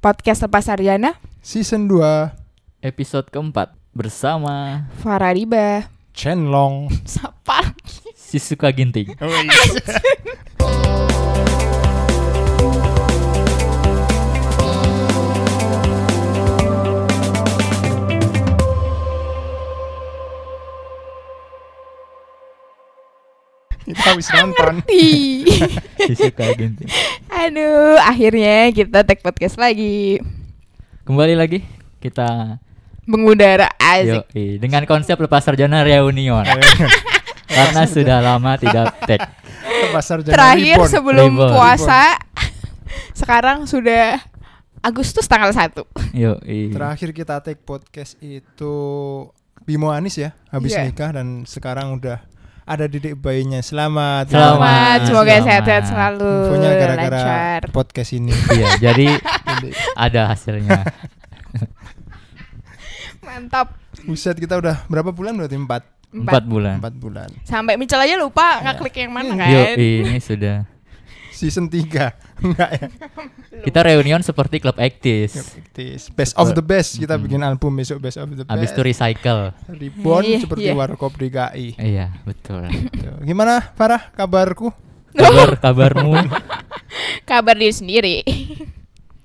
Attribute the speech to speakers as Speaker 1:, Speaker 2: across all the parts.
Speaker 1: Podcast Lepas Sarjana,
Speaker 2: Season 2
Speaker 3: Episode keempat bersama
Speaker 1: Farariba.
Speaker 2: Chenlong
Speaker 1: Sapa?
Speaker 3: Sisuka Ginting.
Speaker 2: Kita habis nonton
Speaker 1: Ti.
Speaker 3: Sisuka Ginting.
Speaker 1: Aduh, akhirnya kita tag podcast lagi.
Speaker 3: Kembali lagi kita
Speaker 1: Mengudara asik.
Speaker 3: yoi, dengan konsep lepas sarjana reunion karena sudah lama tidak tag.
Speaker 2: Ke pasar Jalan
Speaker 1: Terakhir
Speaker 2: Reborn.
Speaker 1: sebelum
Speaker 3: Reborn.
Speaker 1: puasa. Sekarang sudah Agustus tanggal 1.
Speaker 3: Yoi.
Speaker 2: Terakhir kita take podcast itu Bimo Anis ya Habis
Speaker 1: Iya.
Speaker 2: nikah dan sekarang udah ada didik bayinya Selamat
Speaker 1: Selamat,
Speaker 3: Selamat,
Speaker 1: semoga
Speaker 3: selamat.
Speaker 1: sehat-sehat selalu.
Speaker 2: Infonya gara-gara
Speaker 1: lancar.
Speaker 2: podcast ini
Speaker 3: Iya, jadi ada hasilnya.
Speaker 1: Mantap.
Speaker 2: Buset kita udah berapa bulan berarti? Empat
Speaker 1: Empat.
Speaker 3: Empat bulan.
Speaker 2: Empat bulan
Speaker 1: Sampai Michel aja lupa ngeklik yang mana kan.
Speaker 3: Yoi, ini sudah.
Speaker 2: Season 3 Enggak ya
Speaker 3: Kita reunion seperti klub aktis.
Speaker 2: Praktis. Best of the best Kita bikin album besok Best of the best
Speaker 3: Habis itu recycle.
Speaker 2: Reborn
Speaker 1: Iya,
Speaker 2: seperti
Speaker 1: iya.
Speaker 2: Warkop DKI
Speaker 3: Iya, betul.
Speaker 2: Tuh. Gitu. Gimana Farah kabarku?
Speaker 3: Kabar kabarmu?
Speaker 1: kan? Kabar diri sendiri.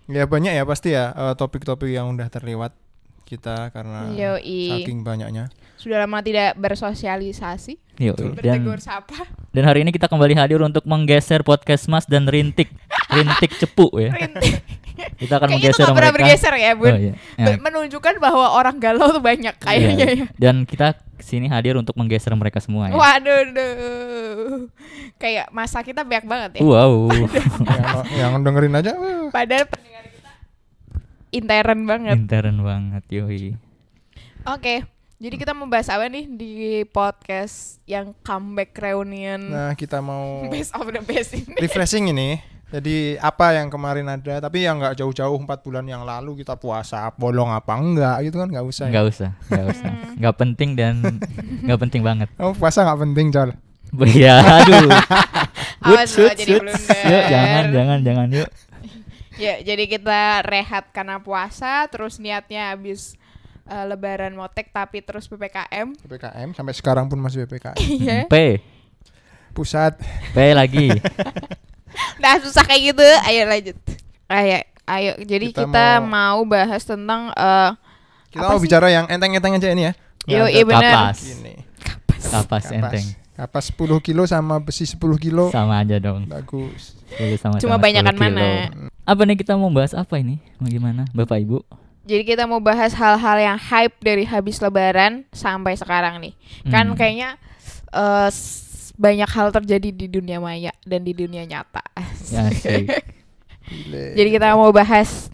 Speaker 2: Ya banyak ya pasti ya eh, topik-topik yang udah terlewat kita karena
Speaker 1: Yoi.
Speaker 2: saking banyaknya.
Speaker 1: Sudah lama tidak bersosialisasi.
Speaker 3: Yoi. Dan
Speaker 1: Bertegur sapa.
Speaker 3: Dan hari ini kita kembali hadir untuk menggeser podcast Mas dan Rintik. Rintik cepu ya. Kita akan
Speaker 1: Kayaknya itu
Speaker 3: Kan menggeser
Speaker 1: gak pernah
Speaker 3: mereka.
Speaker 1: bergeser ya bun
Speaker 3: Oh, iya. Ya.
Speaker 1: Be- Menunjukkan bahwa orang galau tuh banyak kayaknya
Speaker 3: Iya.
Speaker 1: ya
Speaker 3: Dan kita sini hadir untuk menggeser mereka semua ya.
Speaker 1: Waduh duh. Kayak masa kita banyak banget ya
Speaker 3: Wow.
Speaker 2: yang, yang dengerin aja. eh.
Speaker 1: Padahal pendengar kita intern banget
Speaker 3: Intern banget yoi.
Speaker 1: Oke Jadi kita mau bahas apa nih di podcast yang comeback reunion
Speaker 2: Nah kita mau
Speaker 1: Best of the best ini
Speaker 2: refreshing ini. Jadi apa yang kemarin ada tapi yang nggak jauh-jauh empat bulan yang lalu kita puasa bolong apa enggak gitu kan nggak usah. ya.
Speaker 3: Enggak usah, enggak
Speaker 1: Hmm.
Speaker 3: usah. Enggak penting dan enggak penting banget.
Speaker 2: Kamu puasa nggak penting Col.
Speaker 3: Iya, aduh.
Speaker 1: Awas loh
Speaker 3: Suits,
Speaker 1: jadi
Speaker 3: suits. Yuk,
Speaker 1: blunder
Speaker 3: Ya, jangan, jangan, jangan yuk.
Speaker 1: Ya, jadi kita rehat karena puasa, terus niatnya habis eh, lebaran motek tapi terus PPKM.
Speaker 2: PPKM sampai sekarang pun masih PPKM.
Speaker 1: Iya.
Speaker 3: P,
Speaker 2: Pusat
Speaker 3: P lagi.
Speaker 1: nah, susah kayak gitu. Ayo lanjut. Ayo, ayo. Jadi
Speaker 2: Kita
Speaker 1: kita, mau... bahas tentang eh
Speaker 2: kita
Speaker 1: Apa
Speaker 2: mau
Speaker 1: sih?
Speaker 2: bicara yang enteng-enteng aja ini ya.
Speaker 1: Yo, iya
Speaker 2: Nggak ada
Speaker 1: bener.
Speaker 3: Kapas.
Speaker 2: Ini.
Speaker 3: Kapas
Speaker 2: Kapas.
Speaker 3: enteng.
Speaker 2: Kapas 10 kilo sama besi 10 kilo.
Speaker 3: Sama aja dong.
Speaker 2: Bagus.
Speaker 3: Boleh sama-sama
Speaker 1: Cuma banyakan
Speaker 3: 10 kilo.
Speaker 1: mana.
Speaker 3: Apa nih kita mau bahas apa ini? Bagaimana Bapak Ibu?
Speaker 1: jadi kita mau bahas hal-hal yang hype dari habis lebaran sampai sekarang nih. Kan
Speaker 3: Hmm.
Speaker 1: kayaknya eh, s- banyak hal terjadi di dunia maya dan di dunia nyata.
Speaker 3: Ya sih.
Speaker 2: Gile.
Speaker 1: Jadi kita mau bahas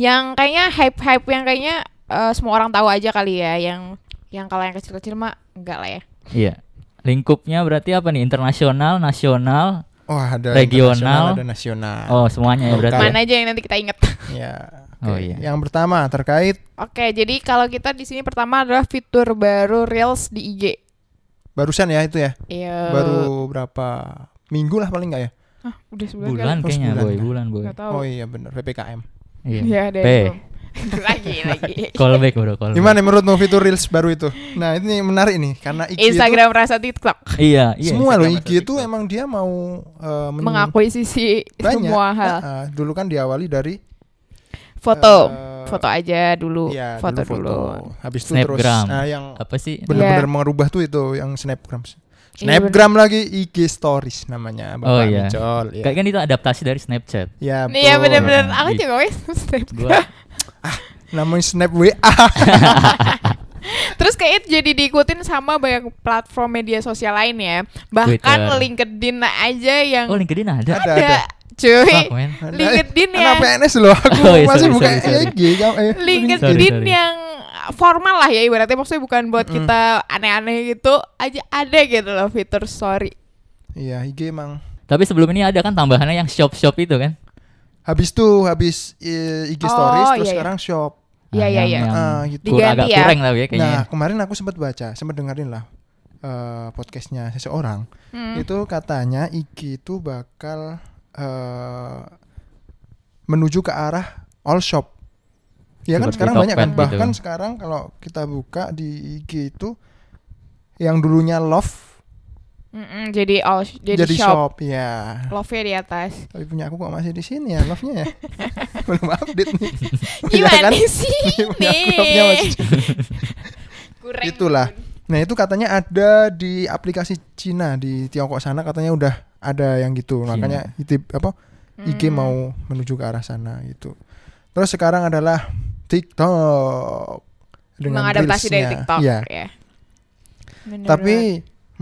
Speaker 1: yang kayaknya hype-hype yang kayaknya eh, semua orang tahu aja kali ya, yang yang kalau yang kecil-kecil mah enggak lah ya.
Speaker 3: Iya. Lingkupnya berarti apa nih? Internasional, nasional,
Speaker 2: Wah, Oh, ada
Speaker 3: Regional.
Speaker 2: internasional, ada nasional.
Speaker 3: oh semuanya ya berarti.
Speaker 1: Mana aja yang nanti kita inget.
Speaker 2: Ya. oke.
Speaker 3: Oh, iya.
Speaker 2: Yang pertama terkait
Speaker 1: Oke, jadi kalau kita di sini pertama adalah fitur baru Reels di IG.
Speaker 2: barusan ya itu ya.
Speaker 1: Iya.
Speaker 2: Baru berapa minggu lah paling nggak ya?
Speaker 1: Hah, udah sebulan,
Speaker 3: Bulan
Speaker 2: Oh,
Speaker 3: kayaknya,
Speaker 2: sebulan.
Speaker 3: boy, bulan, boy.
Speaker 1: Gak tahu.
Speaker 2: Oh iya bener PPKM.
Speaker 1: Iya,
Speaker 3: Iya.
Speaker 1: ada
Speaker 3: P.
Speaker 1: yang belum. lagi lagi.
Speaker 3: Callback bro, callback.
Speaker 2: Gimana menurutmu fitur reels baru itu? Nah ini menarik nih karena IG
Speaker 1: Instagram rasa TikTok
Speaker 3: Iya,
Speaker 2: itu
Speaker 3: iya.
Speaker 2: semua loh IG
Speaker 3: Instagram atau
Speaker 2: itu
Speaker 3: TikTok.
Speaker 2: emang dia mau eh, men-
Speaker 1: mengakui sisi
Speaker 2: banyak.
Speaker 1: semua hal.
Speaker 2: Ah, ah, dulu kan diawali dari
Speaker 1: Foto,
Speaker 2: eh,
Speaker 1: foto aja dulu,
Speaker 2: iya,
Speaker 1: foto
Speaker 2: dulu
Speaker 1: dulu.
Speaker 2: Habis itu terus
Speaker 3: Snapgram.
Speaker 2: ah, yang
Speaker 3: apa sih?
Speaker 2: benar-benar merubah tuh itu yang snapgram.
Speaker 1: Iya,
Speaker 2: Snapgram lagi IG stories namanya Bapak
Speaker 3: Oh, iya.
Speaker 2: Micol, ya.
Speaker 3: Kayaknya itu adaptasi dari Snapchat.
Speaker 2: Ya,
Speaker 1: Iya
Speaker 2: betul.
Speaker 1: bener-bener,
Speaker 3: Nah,
Speaker 1: aku
Speaker 3: gitu.
Speaker 1: juga wes
Speaker 3: Gua
Speaker 2: Namanya Snap WA.
Speaker 1: Terus kayak jadi diikutin sama banyak platform media sosial lain ya. Bahkan
Speaker 3: Twitter.
Speaker 1: LinkedIn aja yang
Speaker 3: Oh, LinkedIn
Speaker 2: ada,
Speaker 3: ada.
Speaker 2: ada.
Speaker 1: ada, cuy.
Speaker 3: Fuck, man.
Speaker 2: Ada.
Speaker 1: LinkedIn ya.
Speaker 2: Anak PNS loh aku
Speaker 3: Oh, iya,
Speaker 2: masih
Speaker 3: sorry,
Speaker 2: buka
Speaker 3: sorry, sorry.
Speaker 2: IG kamu eh,
Speaker 3: Sorry,
Speaker 1: LinkedIn
Speaker 3: sorry.
Speaker 1: yang formal lah ya ibaratnya maksudnya bukan buat
Speaker 2: Mm-mm.
Speaker 1: kita aneh-aneh gitu aja ada gitu loh fitur story.
Speaker 2: Iya, IG emang.
Speaker 3: Tapi sebelum ini ada kan tambahannya yang shop-shop itu kan?
Speaker 2: Habis tuh habis eh, IG stories
Speaker 1: Oh, iya,
Speaker 2: terus
Speaker 1: iya.
Speaker 2: sekarang shop.
Speaker 1: Iya, iya, iya.
Speaker 2: Ah, gitu.
Speaker 3: gitu.
Speaker 1: Diganti
Speaker 3: agak
Speaker 1: ya.
Speaker 3: kurang lah ya kayaknya.
Speaker 2: Nah, kemarin aku sempat baca, sempat dengerin lah eh, podcastnya seseorang.
Speaker 1: Hmm.
Speaker 2: Itu katanya IG itu bakal eh, menuju ke arah all shop. Ya kan
Speaker 3: Seperti
Speaker 2: sekarang banyak kan
Speaker 3: Tokped gitu.
Speaker 2: bahkan sekarang kalau kita buka di IG itu yang dulunya love
Speaker 1: Mm-mm, jadi all sh- jadi,
Speaker 2: jadi,
Speaker 1: shop.
Speaker 2: shop. ya.
Speaker 1: Love-nya di atas.
Speaker 2: Tapi punya aku kok masih di sini ya love-nya ya. Belum update nih. Iya
Speaker 1: Gimana
Speaker 2: kan?
Speaker 1: sih
Speaker 2: Punya aku love-nya
Speaker 1: ini?
Speaker 2: masih-
Speaker 1: Kurang
Speaker 2: Itulah. Nah, itu katanya ada di aplikasi Cina di Tiongkok sana katanya udah ada yang gitu.
Speaker 3: Cina.
Speaker 2: Makanya itu apa IG
Speaker 1: Iya. Hmm.
Speaker 2: mau menuju ke arah sana gitu. Terus sekarang adalah TikTok dengan
Speaker 1: mengadaptasi dari
Speaker 2: Reels-nya.
Speaker 1: TikTok
Speaker 2: Iya.
Speaker 1: ya. Bener banget.
Speaker 2: Tapi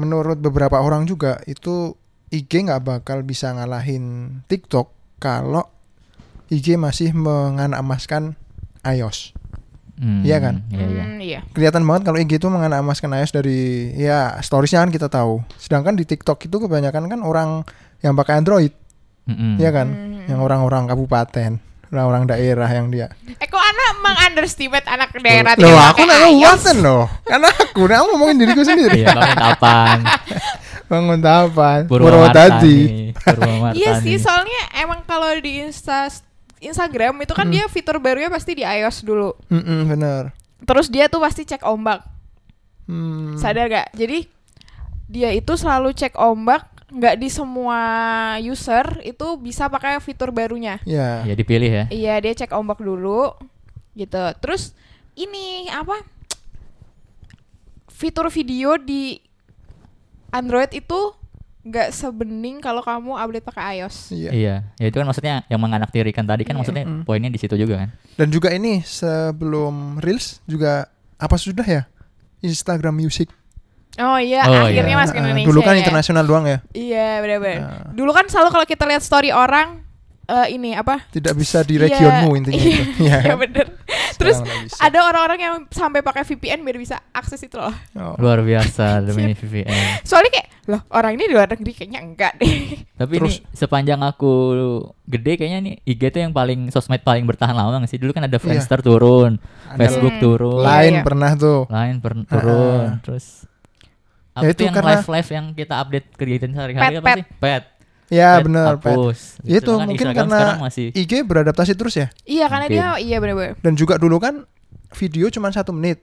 Speaker 2: menurut beberapa orang juga itu IG nggak bakal bisa ngalahin TikTok kalau IG masih menganamaskan iOS.
Speaker 3: Hmm,
Speaker 2: Iya kan?
Speaker 3: Iya iya.
Speaker 1: Hmm, iya.
Speaker 2: Kelihatan banget kalau IG itu menganamaskan iOS dari ya storiesnya kan kita tahu. Sedangkan di TikTok itu kebanyakan kan orang yang pakai Android,
Speaker 3: Mm-mm.
Speaker 2: Iya kan?
Speaker 1: Hmm.
Speaker 2: Yang orang-orang kabupaten, orang-orang daerah yang dia.
Speaker 1: Eh kok anak mengunderestimate anak daerah Iya
Speaker 2: loh,
Speaker 1: tidak
Speaker 2: aku
Speaker 1: pakai
Speaker 2: nggak
Speaker 1: iOS?
Speaker 2: kabupaten loh. Karena aku, nah, aku ngomongin diriku sendiri.
Speaker 3: Iya, bangun kapan?
Speaker 2: Bangun tapan, Purwodadi.
Speaker 3: Purwomartani. Purwomartani.
Speaker 1: Iya sih, soalnya emang kalau di Insta Instagram itu
Speaker 2: Hmm.
Speaker 1: kan dia fitur barunya pasti di iOS dulu.
Speaker 2: Mm-mm, bener.
Speaker 1: Terus dia tuh pasti cek ombak.
Speaker 2: Hmm.
Speaker 1: Sadar gak? Jadi dia itu selalu cek ombak, nggak di semua user itu bisa pakai fitur barunya.
Speaker 2: Ya.
Speaker 3: Ya dipilih ya.
Speaker 1: Iya, dia cek ombak dulu gitu. Terus ini apa? Fitur video di Android itu nggak sebening kalau kamu update pakai iOS.
Speaker 2: Iya.
Speaker 3: Iya. Ya itu kan maksudnya yang menganaktirikan tadi kan
Speaker 1: Iya.
Speaker 3: maksudnya
Speaker 2: Mm-mm.
Speaker 3: poinnya di situ juga kan.
Speaker 2: Dan juga ini sebelum Reels juga apa sudah ya? Instagram Music.
Speaker 1: Oh iya,
Speaker 3: Oh,
Speaker 1: akhirnya
Speaker 3: iya.
Speaker 1: masuk
Speaker 2: Ah,
Speaker 1: Indonesia.
Speaker 2: Dulu kan
Speaker 1: ya.
Speaker 2: internasional doang ya.
Speaker 1: Iya, benar-benar.
Speaker 2: Ah.
Speaker 1: Dulu kan selalu kalau kita lihat story orang eh, ini apa?
Speaker 2: Tidak bisa di
Speaker 1: Iya,
Speaker 2: regionmu intinya
Speaker 1: iya,
Speaker 2: itu. Iya.
Speaker 1: Iya,
Speaker 2: kan?
Speaker 1: bener.
Speaker 2: Sekarang
Speaker 1: Terus
Speaker 2: udah bisa.
Speaker 1: ada orang-orang yang sampai pakai VPN biar bisa akses itu loh.
Speaker 2: Oh.
Speaker 3: Luar biasa demi VPN.
Speaker 1: Soalnya kayak, loh orang ini di luar negeri kayaknya enggak deh.
Speaker 3: Tapi
Speaker 2: Terus-
Speaker 3: ini sepanjang aku gede kayaknya nih IG tuh yang paling sosmed paling bertahan lama nggak sih? Dulu kan ada Friendster turun,
Speaker 2: Iya. Ada
Speaker 3: Facebook
Speaker 1: Hmm.
Speaker 3: turun,
Speaker 1: Lah-
Speaker 2: Lain
Speaker 1: Iya, iya.
Speaker 2: pernah tuh.
Speaker 3: lain pernah turun,
Speaker 2: Ah.
Speaker 3: terus
Speaker 2: Ya,
Speaker 3: apa
Speaker 2: itu
Speaker 3: tuh yang
Speaker 2: karena-
Speaker 3: live live yang kita update kegiatan sehari-hari
Speaker 1: Pet,
Speaker 3: apa
Speaker 1: pet.
Speaker 3: sih? Pet.
Speaker 2: Ya
Speaker 3: Pet
Speaker 2: benar. Pet.
Speaker 3: hapus.
Speaker 2: Ya, itu
Speaker 3: Sedangkan
Speaker 2: mungkin
Speaker 3: Instagram
Speaker 2: karena
Speaker 3: sekarang masih
Speaker 2: IG beradaptasi terus ya.
Speaker 1: Iya karena
Speaker 3: Mungkin.
Speaker 1: dia iya benar-benar.
Speaker 2: Dan juga dulu kan video cuma satu menit.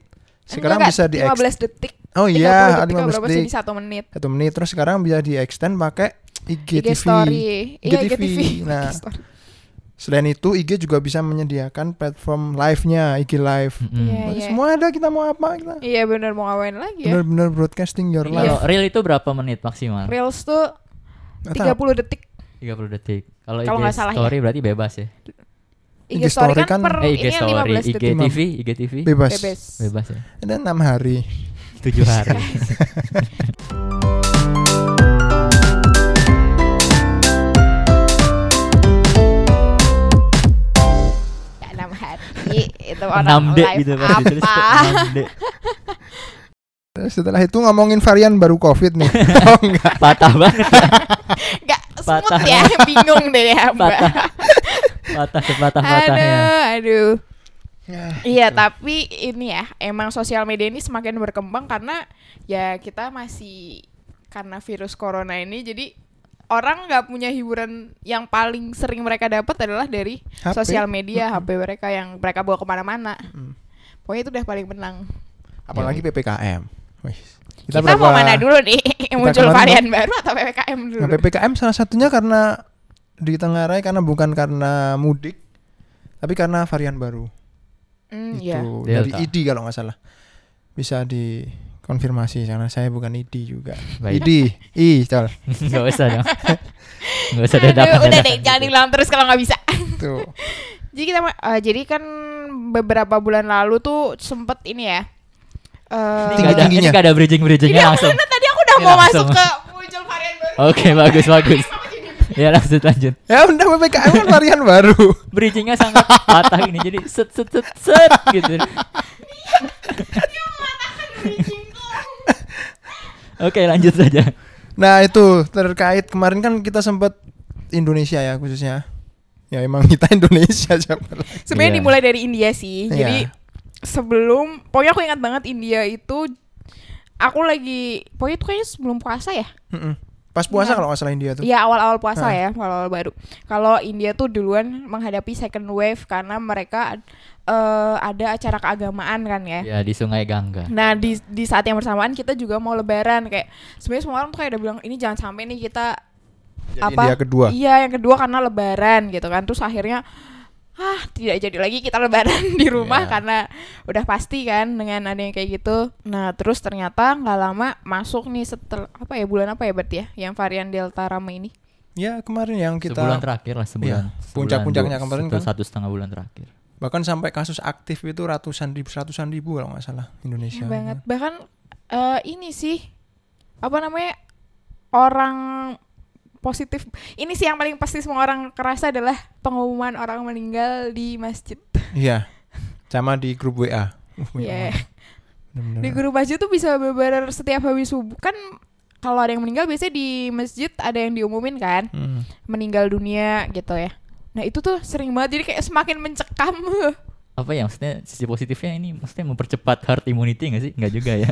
Speaker 2: Sekarang
Speaker 1: Enggak,
Speaker 2: bisa di
Speaker 1: enggak, 15 detik.
Speaker 2: Oh iya,
Speaker 1: 30 detik,
Speaker 2: 15
Speaker 1: berapa sih,
Speaker 2: detik.
Speaker 1: Jadi 1 menit.
Speaker 2: Satu menit terus sekarang bisa di extend pakai
Speaker 1: IG
Speaker 2: IGTV.
Speaker 1: story. Iya,
Speaker 2: IGTV.
Speaker 1: IGTV.
Speaker 2: Nah,
Speaker 1: IG story.
Speaker 2: Selain itu IG juga bisa menyediakan platform live-nya, IG live.
Speaker 3: Mm-mm.
Speaker 1: Iya,
Speaker 2: Berarti Semua ada kita mau apa kita.
Speaker 1: Iya benar mau ngawain lagi ya.
Speaker 2: Benar-benar broadcasting your
Speaker 3: Kalau
Speaker 2: life.
Speaker 3: reel itu berapa menit maksimal?
Speaker 1: Reels tuh
Speaker 2: Nggak tahu.
Speaker 1: 30 detik.
Speaker 3: 30 detik. Kalau
Speaker 1: Kalau
Speaker 3: IG
Speaker 1: nggak salah ya.
Speaker 3: story berarti bebas ya.
Speaker 1: IG, story kan, per
Speaker 3: Eh IG
Speaker 1: ini yang
Speaker 3: story,
Speaker 1: 15
Speaker 3: IG
Speaker 1: detik.
Speaker 3: TV, IG TV
Speaker 2: Bebas.
Speaker 1: Bebas.
Speaker 3: bebas ya.
Speaker 2: Ada enam hari.
Speaker 3: 7 hari.
Speaker 1: Ya, 6 hari. Itu orang
Speaker 3: 6 D
Speaker 1: live
Speaker 3: gitu Pak, ditulis tuh,
Speaker 1: apa?
Speaker 3: 6D.
Speaker 2: Terus Setelah itu ngomongin varian baru COVID nih. oh enggak.
Speaker 3: Patah banget,
Speaker 1: Enggak smooth
Speaker 3: Patah.
Speaker 1: ya, bingung deh ya, Mbak.
Speaker 3: patah. Patah sepatah-patahnya.
Speaker 1: Aduh, aduh.
Speaker 2: Ya,
Speaker 1: Iya, tapi ini ya, emang sosial media ini semakin berkembang karena ya kita masih karena virus corona ini jadi orang nggak punya hiburan yang paling sering mereka dapat adalah dari
Speaker 2: HP.
Speaker 1: sosial media HP mereka yang mereka bawa kemana-mana.
Speaker 2: Mm.
Speaker 1: Pokoknya itu udah paling menang.
Speaker 2: Apalagi PPKM. Wih.
Speaker 1: Kita, mau mana dulu nih? Muncul
Speaker 2: kemarin
Speaker 1: varian baru atau ppkm dulu?
Speaker 2: Nah, PPKM salah satunya karena ditengarai karena bukan karena mudik, tapi karena varian baru.
Speaker 1: Hmm, iya.
Speaker 2: itu
Speaker 3: Delta.
Speaker 2: dari ID kalau nggak salah bisa dikonfirmasi karena saya bukan ID juga
Speaker 3: Baik.
Speaker 2: ID I col
Speaker 3: Enggak usah dong. Enggak usah
Speaker 1: Aduh,
Speaker 3: dadakan.
Speaker 1: udah deh,
Speaker 3: dadakan
Speaker 1: jangan
Speaker 3: gitu.
Speaker 1: diulang terus kalau nggak bisa.
Speaker 2: tuh
Speaker 1: Jadi kita ma- eh, jadi kan beberapa bulan lalu tuh sempet ini ya. eh,
Speaker 3: Ini nggak ada- Ini
Speaker 2: Tinggi-tingginya.
Speaker 3: nggak ada bridging-bridgingnya
Speaker 1: Iya,
Speaker 3: langsung.
Speaker 1: karena tadi aku udah
Speaker 3: Ini
Speaker 1: mau
Speaker 3: langsung. Oh.
Speaker 1: masuk ke muncul varian baru.
Speaker 3: Oke, bagus bagus.
Speaker 1: kan
Speaker 3: Ya lanjut lanjut.
Speaker 2: ya udah PPKM kan varian baru
Speaker 3: Bridgingnya sangat patah ini jadi set set set set gitu. Oke lanjut saja.
Speaker 2: nah itu terkait kemarin kan kita sempat Indonesia ya khususnya ya emang kita Indonesia siapa lagi?
Speaker 1: Sebenarnya
Speaker 3: Iya.
Speaker 1: dimulai dari India sih.
Speaker 2: Iya.
Speaker 1: Jadi sebelum pokoknya aku ingat banget India itu aku lagi pokoknya itu kayaknya sebelum puasa ya.
Speaker 2: Mm-mm. Pas puasa
Speaker 1: Nah.
Speaker 2: kalau nggak salah India tuh.
Speaker 1: Iya awal-awal puasa
Speaker 2: Ah.
Speaker 1: ya, awal-awal baru. Kalau India tuh duluan menghadapi second wave karena mereka eh, ada acara keagamaan kan ya.
Speaker 3: Ya di Sungai Gangga.
Speaker 1: Nah di di saat yang bersamaan kita juga mau Lebaran kayak sebenarnya semua orang tuh kayak udah bilang ini jangan sampai nih kita
Speaker 2: Jadi
Speaker 1: apa?
Speaker 2: India kedua.
Speaker 1: Iya yang kedua karena Lebaran gitu kan. Terus akhirnya ah tidak jadi lagi kita Lebaran di rumah
Speaker 3: Iya.
Speaker 1: karena udah pasti kan dengan ada yang kayak gitu. Nah terus ternyata nggak lama masuk nih setelah apa ya bulan apa ya berarti ya yang varian Delta rame ini.
Speaker 2: Ya kemarin yang kita
Speaker 3: sebulan terakhir lah sebulan.
Speaker 2: Iya,
Speaker 3: sebulan,
Speaker 2: puncak-puncaknya
Speaker 3: dua-
Speaker 2: kemarin
Speaker 3: satu,
Speaker 2: kan.
Speaker 3: satu setengah bulan terakhir.
Speaker 2: bahkan sampai kasus aktif itu ratusan ribu ratusan ribu kalau nggak salah Indonesia.
Speaker 1: Iya banget. Bahkan eh, ini sih apa namanya orang positif. Ini sih yang paling pasti semua orang kerasa adalah pengumuman orang meninggal di masjid.
Speaker 2: Iya. Sama di grup WA. Uh, banyak
Speaker 1: Iya.
Speaker 2: banget. Bener-bener.
Speaker 1: Di grup masjid tuh bisa beber setiap habis subuh kan kalau ada yang meninggal biasanya di masjid ada yang diumumin kan
Speaker 2: Hmm.
Speaker 1: meninggal dunia gitu ya. Nah itu tuh sering banget jadi kayak semakin mencekam.
Speaker 3: Apa ya maksudnya sisi positifnya ini maksudnya mempercepat herd immunity nggak sih? Nggak juga ya.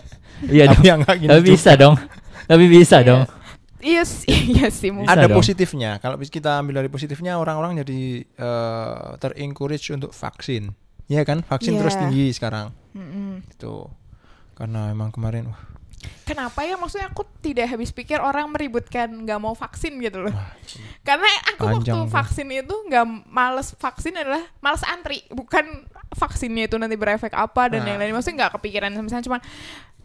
Speaker 3: Iya dong.
Speaker 2: Tapi yang nggak gini
Speaker 3: Tapi
Speaker 2: juga.
Speaker 3: bisa dong. Tapi bisa dong.
Speaker 1: iya sih, iya sih mungkin.
Speaker 2: Ada
Speaker 3: dong.
Speaker 2: positifnya. Kalau bis- kita ambil dari positifnya orang-orang jadi eh, ter-encourage untuk vaksin. Iya kan?
Speaker 1: Iya.
Speaker 2: Vaksin terus tinggi sekarang.
Speaker 1: Mm-mm.
Speaker 2: Itu karena emang kemarin wah,
Speaker 1: Kenapa ya maksudnya aku tidak habis pikir orang meributkan nggak mau vaksin gitu loh.
Speaker 2: wah,
Speaker 1: Karena aku
Speaker 2: Panjang
Speaker 1: waktu
Speaker 2: tuh.
Speaker 1: vaksin itu nggak males vaksin adalah males antri, bukan vaksinnya itu nanti berefek apa dan
Speaker 2: Nah.
Speaker 1: lain-lain. Maksudnya nggak kepikiran misalnya cuman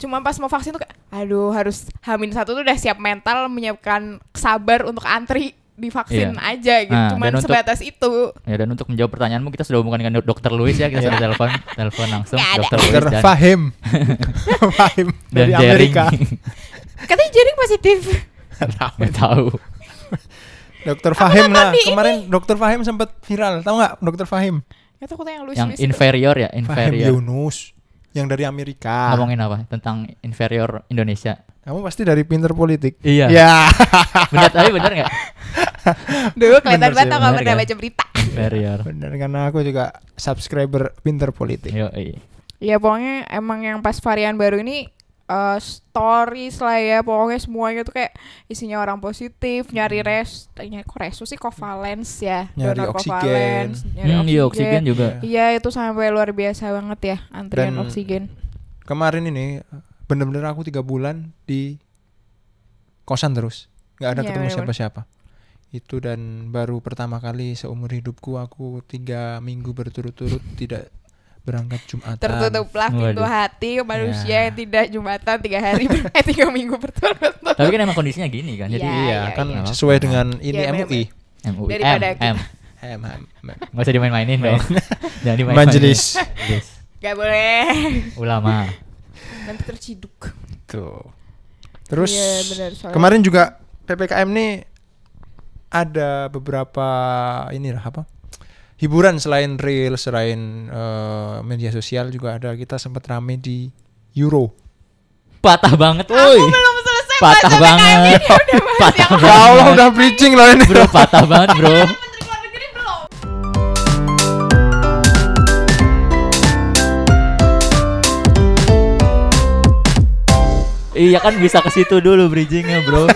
Speaker 1: cuma pas mau vaksin tuh kayak aduh harus hamin satu tuh udah siap mental menyiapkan sabar untuk antri divaksin
Speaker 3: Iya.
Speaker 1: aja gitu.
Speaker 3: Nah,
Speaker 1: cuman
Speaker 3: dan untuk-
Speaker 1: sebatas itu.
Speaker 3: Ya dan untuk menjawab pertanyaanmu kita sudah hubungkan dengan dokter Luis ya kita sudah telepon telepon langsung
Speaker 1: Nggak ada.
Speaker 3: dokter Luis
Speaker 2: Dr.
Speaker 3: dan
Speaker 2: Fahim. Fahim
Speaker 3: dan
Speaker 2: dari
Speaker 3: Jering.
Speaker 2: Amerika.
Speaker 1: Katanya jaring positif.
Speaker 3: Nggak tahu.
Speaker 2: Dokter
Speaker 1: Apa
Speaker 2: Fahim
Speaker 1: tadi
Speaker 2: lah.
Speaker 1: ini?
Speaker 2: Kemarin Dokter Fahim sempat viral. Tahu nggak Dokter Fahim?
Speaker 1: Kata aku tanya lu
Speaker 3: Yang inferior ya
Speaker 2: Fahim
Speaker 3: inferior.
Speaker 2: Yunus yang dari Amerika.
Speaker 3: Ngomongin apa tentang inferior Indonesia?
Speaker 2: Kamu pasti dari pinter politik.
Speaker 3: Iya.
Speaker 2: Ya.
Speaker 3: Benar tapi benar nggak?
Speaker 1: Dulu kelihatan
Speaker 2: Bener sih,
Speaker 1: banget tau nggak
Speaker 3: bener
Speaker 1: pernah
Speaker 3: kan?
Speaker 1: baca berita.
Speaker 3: Inferior.
Speaker 2: Bener karena aku juga subscriber pinter politik.
Speaker 3: Yo, iya.
Speaker 1: Ya pokoknya emang yang pas varian baru ini eh, stories lah ya pokoknya semuanya tuh kayak isinya orang positif nyari res nyari kok resus sih covalence ya
Speaker 2: Nyari
Speaker 1: donor
Speaker 2: oksigen.
Speaker 1: covalence, nyari
Speaker 3: Hmm, iya, oksigen juga.
Speaker 1: iya itu sampai luar biasa banget ya antrian
Speaker 2: Dan-
Speaker 1: oksigen
Speaker 2: Kemarin ini bener-bener aku tiga bulan di kosan terus, nggak ada
Speaker 1: Iya,
Speaker 2: ketemu
Speaker 1: bener-bener.
Speaker 2: siapa-siapa. Itu dan baru pertama kali seumur hidupku aku tiga minggu berturut-turut tidak berangkat Jumatan.
Speaker 1: tertutuplah pintu
Speaker 3: Waduh.
Speaker 1: hati manusia
Speaker 2: Ya.
Speaker 1: yang tidak jumatan tiga hari ber- eh tiga minggu berturut-turut
Speaker 3: Tapi kan emang kondisinya gini kan. Jadi
Speaker 1: Iya,
Speaker 2: Iya, kan
Speaker 1: iya.
Speaker 2: sesuai dengan ini
Speaker 1: Iya,
Speaker 2: MUI.
Speaker 3: MUI.
Speaker 1: Daripada
Speaker 3: M,
Speaker 1: kita-
Speaker 3: M.
Speaker 2: Em, em, em.
Speaker 3: Nggak usah dimain-mainin dong. Jangan dimain-mainin.
Speaker 2: Majelis.
Speaker 3: Majelis.
Speaker 1: gak boleh
Speaker 3: Ulama.
Speaker 1: nanti terciduk
Speaker 2: Tuh. Terus
Speaker 1: Iya, benar, soalnya-
Speaker 2: kemarin juga PPKM nih ada beberapa ini lah apa? Hiburan selain reel, selain eh, media sosial juga ada kita sempat rame di Euro.
Speaker 3: Patah banget, woi.
Speaker 1: aku belum selesai
Speaker 3: Patah
Speaker 1: bahas PPKM
Speaker 3: banget.
Speaker 1: ini, udah bahas
Speaker 3: Patah
Speaker 2: Ya
Speaker 1: yang-
Speaker 3: banget.
Speaker 2: preaching loh ini.
Speaker 3: Bro, patah banget, bro.
Speaker 1: Menteri Luar Negeri belum
Speaker 3: Iya kan bisa ke situ dulu bridgingnya, bro.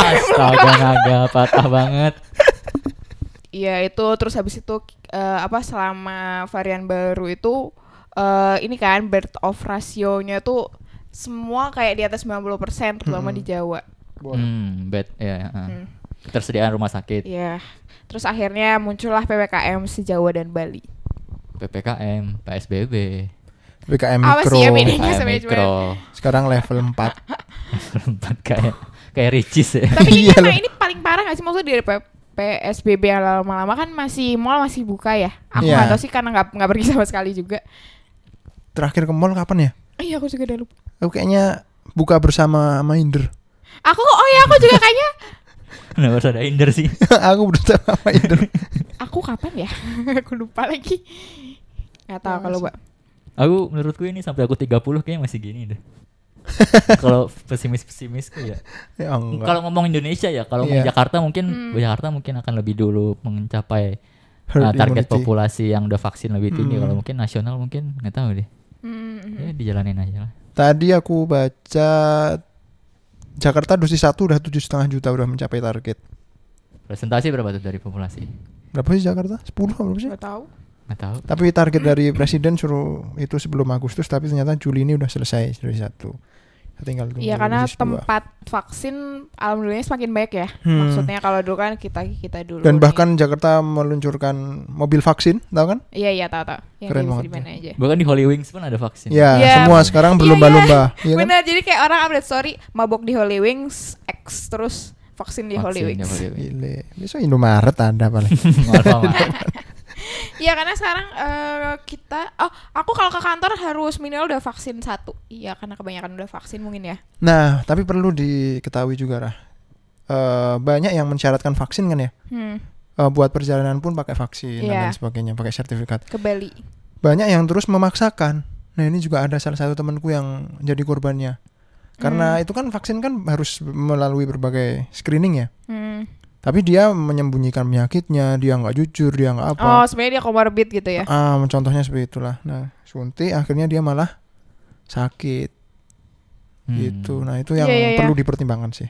Speaker 3: Astaga, naga patah banget.
Speaker 1: Iya itu terus habis itu eh, apa selama varian baru itu eh, ini kan birth of ratio-nya tuh semua kayak di atas 90% terutama di Jawa.
Speaker 3: Hmm, bad ya. heeh.
Speaker 1: Hmm.
Speaker 3: Ketersediaan rumah sakit,
Speaker 1: Iya. Terus akhnya muncullah PPKM sejawa dan Bali.
Speaker 3: PPKM, PSBB,
Speaker 2: PPKM
Speaker 1: Apa
Speaker 2: mikro.
Speaker 1: sih ya bedanya?
Speaker 3: KM
Speaker 1: sebenarnya cuma-
Speaker 3: mikro,
Speaker 2: Sekarang level 4.
Speaker 3: tempat kayak kayak ricis ya.
Speaker 1: Tapi ini
Speaker 2: Iya
Speaker 1: karena
Speaker 2: loh.
Speaker 1: ini paling parah gak sih maksudnya dari P- PSBB yang lama-lama kan masih mall masih buka ya. Aku
Speaker 2: Iya.
Speaker 1: nggak tahu sih karena nggak nggak pergi sama sekali juga.
Speaker 2: Terakhir ke mall kapan ya?
Speaker 1: Iya aku juga udah lupa.
Speaker 2: Aku kayaknya buka bersama sama Inder.
Speaker 1: Aku oh ya aku juga kayaknya
Speaker 3: Kenapa harus ada hinder sih?
Speaker 2: aku bersama sama Inder.
Speaker 1: aku kapan ya? aku lupa lagi. Gak
Speaker 2: Iya,
Speaker 1: tahu kalau Mbak.
Speaker 3: Aku menurutku ini sampai aku 30 kayaknya masih gini deh. Kalau pesimis-pesimisku ya.
Speaker 2: ya enggak.
Speaker 3: Kalau ngomong Indonesia ya, kalau ngomong
Speaker 2: Iya.
Speaker 3: Jakarta
Speaker 1: Hmm.
Speaker 3: mungkin Jakarta mungkin akan lebih dulu mencapai
Speaker 2: Herd
Speaker 3: uh,
Speaker 2: immunity.
Speaker 3: target populasi yang udah vaksin lebih tinggi.
Speaker 2: Hmm.
Speaker 3: Kalau mungkin nasional mungkin nggak tahu deh.
Speaker 1: Hmm.
Speaker 3: Ya dijalanin aja lah.
Speaker 2: Tadi aku baca Jakarta dosis satu udah tujuh setengah juta udah mencapai target.
Speaker 3: Presentasi berapa tuh dari populasi?
Speaker 2: Berapa sih Jakarta? 10 apa berapa sih?
Speaker 1: Gak tahu.
Speaker 3: Nggak tahu.
Speaker 2: Tapi target dari presiden suruh itu sebelum Agustus tapi ternyata Juli ini udah selesai dosis satu. Tinggal tunggu
Speaker 1: Iya karena
Speaker 2: dosis dua.
Speaker 1: tempat vaksin alhamdulillah semakin baik ya.
Speaker 2: Hmm.
Speaker 1: Maksudnya kalau dulu kan kita kita dulu.
Speaker 2: Dan
Speaker 1: nih.
Speaker 2: bahkan Jakarta meluncurkan mobil vaksin, tahu kan?
Speaker 1: Iya iya tahu tahu. Yang
Speaker 2: Keren
Speaker 1: di-
Speaker 2: banget
Speaker 1: di mana aja.
Speaker 3: Bahkan kan di Holy Wings pun ada vaksin.
Speaker 2: Ya,
Speaker 1: Iya.
Speaker 2: semua
Speaker 1: Iya,
Speaker 2: sekarang berlomba-lomba, iya kan?
Speaker 1: Bener jadi kayak orang update story mabok di Holy Wings X terus vaksin di Holy
Speaker 3: Vaksin di
Speaker 1: Wings.
Speaker 3: Holy Wings.
Speaker 2: Gile. Iya, Besok Indomaret ada paling.
Speaker 3: Alfamart.
Speaker 1: Iya karena sekarang eh, kita oh aku kalau ke kantor harus minimal udah vaksin satu. Iya karena kebanyakan udah vaksin mungkin ya.
Speaker 2: nah, tapi perlu diketahui juga Rah. Eh, banyak yang mensyaratkan vaksin kan ya.
Speaker 1: Hmm,
Speaker 2: Eh, buat perjalanan pun pakai vaksin dan
Speaker 1: Iya.
Speaker 2: lain sebagainya, pakai sertifikat.
Speaker 1: ke Bali.
Speaker 2: Banyak yang terus memaksakan. Nah, ini juga ada salah satu temanku yang jadi korbannya. Karena
Speaker 1: Hmm.
Speaker 2: itu kan vaksin kan harus melalui berbagai screening ya.
Speaker 1: Hmm.
Speaker 2: Tapi dia menyembunyikan penyakitnya, dia nggak jujur, dia nggak apa.
Speaker 1: Oh sebenarnya dia komorbid gitu ya.
Speaker 2: Ah, contohnya seperti itulah. Nah, suntik akhirnya dia malah sakit
Speaker 3: Hmm.
Speaker 2: gitu. Nah, itu yang
Speaker 1: Iya, iya, iya.
Speaker 2: perlu dipertimbangkan sih.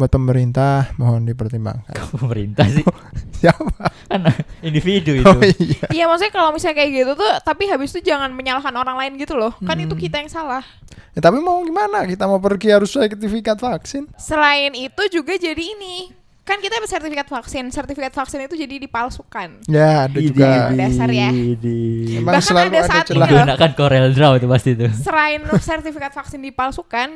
Speaker 2: Buat pemerintah mohon dipertimbangkan.
Speaker 3: Kok pemerintah sih?
Speaker 2: Siapa?
Speaker 3: Kan individu itu.
Speaker 2: Oh iya.
Speaker 1: Iya maksudnya kalau misalnya kayak gitu tuh tapi habis itu jangan menyalahkan orang lain gitu loh. Kan itu kita yang salah.
Speaker 2: Ya, tapi mau gimana? Kita mau pergi harus sertifikat vaksin.
Speaker 1: Selain itu juga jadi ini. Kan kita dapat sertifikat vaksin. Sertifikat vaksin itu jadi dipalsukan.
Speaker 2: Ya, ada
Speaker 3: Idi,
Speaker 2: juga.
Speaker 3: idi,
Speaker 1: Dasar ya.
Speaker 3: idi.
Speaker 2: Emang
Speaker 1: Bahkan
Speaker 2: selalu
Speaker 1: ada
Speaker 2: ada,
Speaker 1: saatnya
Speaker 2: celah.
Speaker 1: loh.
Speaker 3: Menggunakan Corel Draw itu pasti itu.
Speaker 1: Selain sertifikat vaksin dipalsukan,